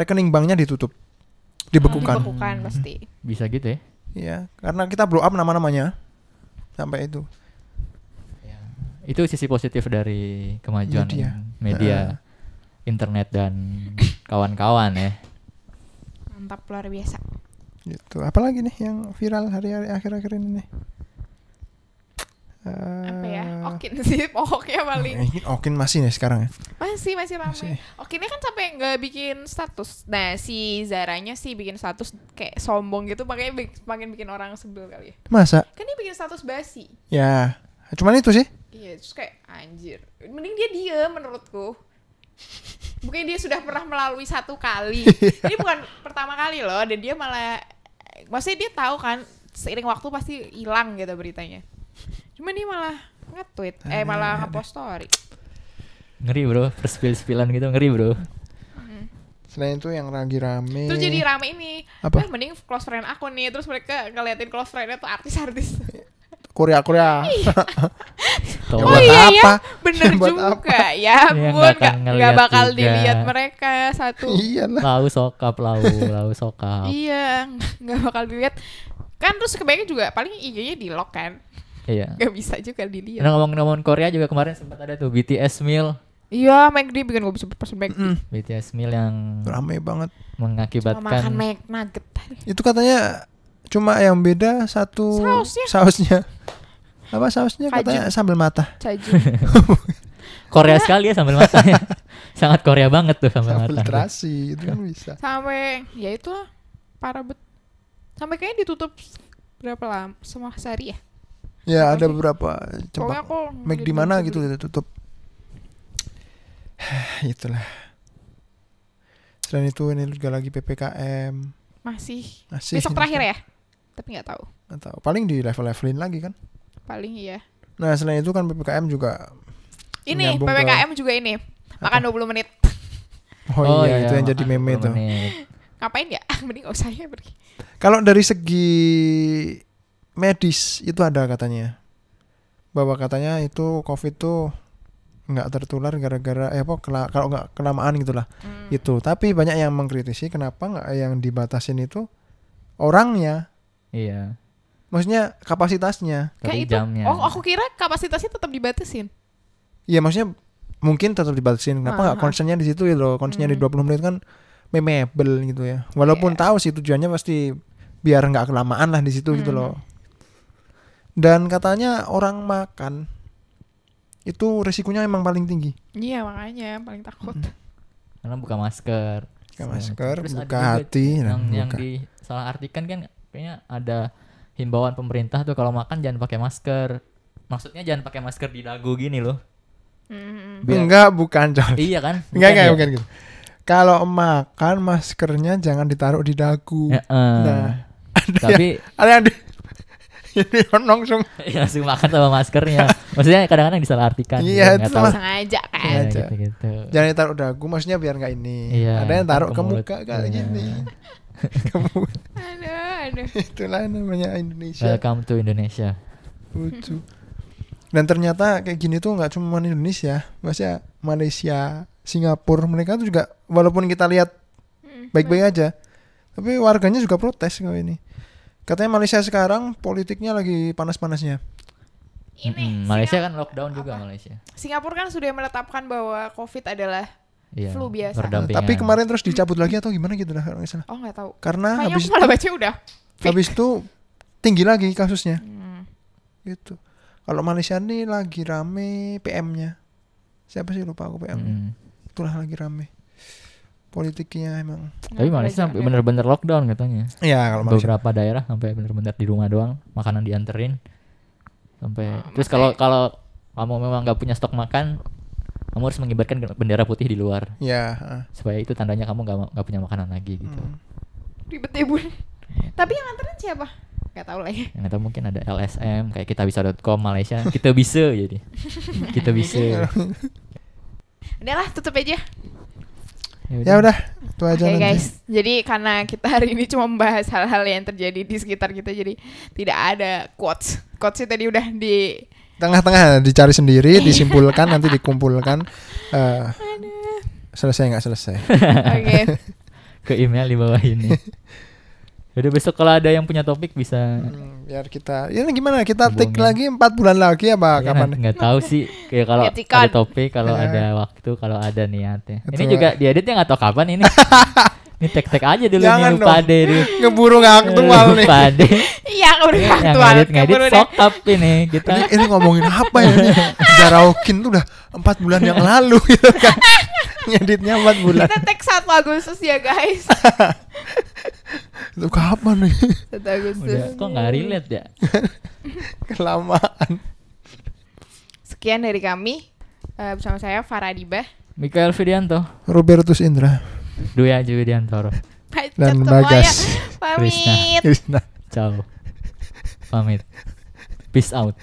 Speaker 2: rekening banknya ditutup dibekukan Hmm.
Speaker 1: Dibekukan pasti.
Speaker 3: Bisa gitu ya.
Speaker 2: Iya, karena kita blow up nama-namanya sampai itu.
Speaker 3: Itu sisi positif dari kemajuan
Speaker 2: Media.
Speaker 3: media, internet dan kawan-kawan ya.
Speaker 1: Mantap luar biasa.
Speaker 2: Gitu. Apalagi nih yang viral hari-hari akhir-akhir ini nih?
Speaker 1: Apa ya? Okin sih pokoknya paling.
Speaker 2: Okin. Eh, Okin masih nih sekarang ya.
Speaker 1: Masih masih ramai.
Speaker 2: Masih.
Speaker 1: Okinnya kan sampai nggak bikin status. Nah, si Zaranya sih bikin status kayak sombong gitu pakai makin bikin orang sebel kali ya.
Speaker 2: Masa?
Speaker 1: Kan dia bikin status basi.
Speaker 2: Ya, cuman itu sih.
Speaker 1: Iya, terus kayak anjir. Mending dia diem menurutku. Bukannya dia sudah pernah melalui satu kali. Ini bukan pertama kali loh dan dia malah maksudnya dia tahu kan seiring waktu pasti hilang gitu beritanya. Cuma dia malah nge-tweet, eh malah nge-post story.
Speaker 3: Ngeri bro, perspil-spilan gitu ngeri bro.
Speaker 2: Selain itu yang lagi rame.
Speaker 1: Terus jadi rame ini.
Speaker 2: Iya. Apa?
Speaker 1: Eh, mending close friend aku nih. Terus mereka ngeliatin close friendnya tuh artis-artis.
Speaker 2: Korea Korea.
Speaker 3: Tolong.
Speaker 2: buat
Speaker 1: ya,
Speaker 2: apa?
Speaker 1: bener
Speaker 2: Ya, buat
Speaker 1: juga.
Speaker 2: apa?
Speaker 1: Ya
Speaker 3: Iya,
Speaker 1: ampun,
Speaker 3: nggak
Speaker 1: nggak
Speaker 3: akan
Speaker 1: nggak
Speaker 3: ngeliat
Speaker 1: bakal
Speaker 3: juga.
Speaker 1: dilihat mereka satu.
Speaker 2: iya lah.
Speaker 3: lau sokap, lau, lau sokap.
Speaker 1: Iya, nggak bakal dilihat. Kan terus kebanyakan juga paling IG-nya di lock kan,
Speaker 3: Iya.
Speaker 1: nggak bisa juga dilihat.
Speaker 3: Nah, ngomong-ngomong Korea juga kemarin sempat ada tuh BTS meal.
Speaker 1: Iya, McD bikin gue bisa pesen McD.
Speaker 3: BTS meal yang
Speaker 2: Rame banget.
Speaker 1: Cuma makan
Speaker 3: mengakibatkan
Speaker 1: Mac Nugget tadi.
Speaker 2: Itu katanya cuma yang beda satu
Speaker 1: Sausnya.
Speaker 2: sausnya. Apa sausnya
Speaker 1: Kajun.
Speaker 2: katanya sambal mata.
Speaker 1: Caju.
Speaker 3: Korea sekali ya sambil matanya. Sangat Korea banget tuh sambil
Speaker 2: Sambal
Speaker 3: mata.
Speaker 2: terasi itu kan bisa.
Speaker 1: Sampai ya itulah parah bet. Sampai kayaknya ditutup berapa lama? Semua sehari ya?
Speaker 2: Ya ada
Speaker 1: Oke.
Speaker 2: beberapa
Speaker 1: Pokoknya
Speaker 2: cempak
Speaker 1: aku
Speaker 2: Mac di mana gitu kita tutup. Itulah. Selain itu ini juga lagi PPKM.
Speaker 1: Masih.
Speaker 2: Masih
Speaker 1: Besok terakhir ya? Tapi nggak tahu.
Speaker 2: Atau paling di level-levelin lagi kan.
Speaker 1: Paling iya.
Speaker 2: Nah, selain itu kan PPKM juga
Speaker 1: Ini
Speaker 2: Menyambung ke-
Speaker 1: PPKM juga ini. Makan 20 menit.
Speaker 2: Oh, iya, itu yang jadi
Speaker 3: makan
Speaker 2: meme
Speaker 3: 20
Speaker 2: itu.
Speaker 3: menit.
Speaker 1: Ngapain ya? Mending nggak usah ya pergi.
Speaker 2: Kalau dari segi medis itu ada katanya. Bahwa katanya itu COVID tuh nggak tertular gara-gara eh apa kela- kalau nggak kelamaan gitulah
Speaker 1: Hmm.
Speaker 2: itu tapi banyak yang mengkritisi kenapa nggak yang dibatasin itu orangnya
Speaker 3: Iya.
Speaker 2: maksudnya kapasitasnya
Speaker 1: Kayak
Speaker 3: Tapi
Speaker 1: itu.
Speaker 3: jamnya.
Speaker 1: Oh, aku kira kapasitasnya tetap dibatasin.
Speaker 2: ya maksudnya mungkin tetap dibatasin kenapa nggak
Speaker 3: Ah.
Speaker 1: Aha.
Speaker 2: concernnya di situ ya loh concernnya
Speaker 3: Hmm.
Speaker 2: di 20 menit kan memebel gitu ya
Speaker 3: Iya.
Speaker 2: walaupun tahu sih tujuannya pasti biar nggak kelamaan lah di situ gitu
Speaker 1: Hmm.
Speaker 2: loh dan katanya orang makan itu risikonya emang paling tinggi
Speaker 1: Iya makanya paling takut.
Speaker 3: Karena buka masker.
Speaker 2: Buka
Speaker 3: segala
Speaker 2: masker,
Speaker 3: macam. Terus ada
Speaker 2: buka
Speaker 3: juga
Speaker 2: hati, nah,
Speaker 3: Yang, yang
Speaker 2: buka.
Speaker 3: disalahartikan kan kayaknya ada himbauan pemerintah tuh kalau makan jangan pakai masker. Maksudnya jangan pakai masker di dagu gini loh.
Speaker 1: Mm.
Speaker 3: Biar-
Speaker 2: enggak bukan John
Speaker 3: Iya kan?
Speaker 2: enggak enggak
Speaker 3: ya?
Speaker 2: bukan gitu kalau makan maskernya jangan ditaruh di dagu
Speaker 3: Ya, eh.
Speaker 2: nah ada yang,
Speaker 3: Tapi
Speaker 2: ada yang di ini kan orang langsung
Speaker 3: ya, langsung makan sama maskernya. Maksudnya kadang-kadang disalartikan.
Speaker 2: Iya,
Speaker 3: nggak
Speaker 2: itu
Speaker 3: tahu.
Speaker 2: Mas-
Speaker 1: Sengaja
Speaker 3: Ya,
Speaker 1: kan.
Speaker 2: Aja.
Speaker 3: gitu-gitu.
Speaker 2: jangan ditaruh dagu maksudnya biar nggak ini
Speaker 3: Iya,
Speaker 2: ada yang taruh
Speaker 3: ke
Speaker 2: ke
Speaker 3: mulut.
Speaker 2: muka kayak
Speaker 3: Iya.
Speaker 2: gini Ke mulut.
Speaker 1: Aduh, aduh.
Speaker 2: itulah namanya Indonesia
Speaker 3: Welcome to Indonesia.
Speaker 2: lucu dan ternyata kayak gini tuh nggak cuma Indonesia maksudnya Malaysia Singapura mereka tuh juga walaupun kita lihat baik-baik aja tapi warganya juga protes kalau ini katanya Malaysia sekarang politiknya lagi panas-panasnya
Speaker 1: Ini
Speaker 3: Mm-mm. Malaysia
Speaker 1: Singap-
Speaker 3: kan lockdown juga Malaysia.
Speaker 1: Singapura kan sudah menetapkan bahwa COVID adalah
Speaker 3: Iya.
Speaker 1: Flu biasa.
Speaker 3: berdampingan.
Speaker 2: tapi kemarin terus dicabut lagi atau gimana gitu lah kalau nggak salah.
Speaker 1: oh nggak tahu.
Speaker 2: karena
Speaker 1: Kayaknya
Speaker 2: Ah, habis
Speaker 1: aku malah baca udah.
Speaker 2: habis itu tinggi lagi kasusnya
Speaker 1: Hmm.
Speaker 2: gitu kalau Malaysia nih lagi rame PM-nya siapa sih lupa aku PM-nya
Speaker 3: Mm.
Speaker 2: itulah lagi rame politiknya emang
Speaker 3: Tapi Malaysia sampai bener-bener lockdown katanya.
Speaker 2: ya kalau Malaysia
Speaker 3: Beberapa daerah sampai bener-bener di rumah doang, makanan dianterin. Sampai
Speaker 1: Ah,
Speaker 3: terus kalau kalau kamu memang nggak punya stok makan, kamu harus mengibarkan bendera putih di luar
Speaker 2: ya ah.
Speaker 3: supaya itu tandanya kamu nggak ma- nggak punya makanan lagi gitu.
Speaker 2: Hmm.
Speaker 1: Ribet deh bun. Tapi yang anterin siapa? Nggak tahu lah ya.
Speaker 3: Yang atau mungkin ada LSM kayak kita bisa.com Malaysia, kita bisa jadi. kita bisa.
Speaker 2: Hmm.
Speaker 1: Udahlah tutup aja.
Speaker 2: ya udah itu
Speaker 1: Oke
Speaker 2: aja nanti
Speaker 1: guys. Jadi karena kita hari ini cuma membahas hal-hal yang terjadi di sekitar kita, jadi tidak ada quotes. Quotesnya tadi udah di
Speaker 2: tengah-tengah dicari sendiri, disimpulkan nanti dikumpulkan. Eh, selesai nggak selesai?
Speaker 1: Oke.
Speaker 3: ke email di bawah ini. Udah besok kalau ada yang punya topik bisa
Speaker 2: Hmm, biar kita, ini gimana? Kita take
Speaker 3: Hubungin.
Speaker 2: lagi empat bulan lagi apa
Speaker 3: Ya,
Speaker 2: Iya, kapan?
Speaker 3: nggak tahu sih kayak kalau
Speaker 1: Etikon.
Speaker 3: ada topik kalau
Speaker 2: Ya.
Speaker 3: ada waktu kalau ada niatnya ini
Speaker 2: Betul.
Speaker 3: juga dieditnya nggak tahu kapan ini ini tek tek aja dulu
Speaker 2: Jangan
Speaker 3: nih lupa
Speaker 2: dong.
Speaker 3: deh dulu
Speaker 2: Ngeburu nggak aktual nih.
Speaker 3: lupa deh
Speaker 1: Iya, aku udah
Speaker 3: yang
Speaker 1: aktual.
Speaker 3: ngedit ngedit
Speaker 1: Keburu deh.
Speaker 3: fuck up ini kita
Speaker 2: Ini, ini ngomongin apa ya ini? Jaraukin tuh udah empat bulan yang lalu gitu kan. Nyeditnya empat bulan.
Speaker 1: Kita tag 1 Agustus ya, guys.
Speaker 2: Itu kapan nih?
Speaker 1: 1 Agustus.
Speaker 3: udah kok nggak relate ya
Speaker 2: Kelamaan.
Speaker 1: Sekian dari kami. Eh, bersama saya Farah Dibah.
Speaker 3: Mikael Fidianto
Speaker 2: Robertus Indra
Speaker 3: Dwi Aji Widiantoro
Speaker 1: Pacet
Speaker 2: dan
Speaker 1: semuanya.
Speaker 2: Bagas
Speaker 1: Pamit.
Speaker 2: nah, Krisna.
Speaker 3: ciao pamit peace out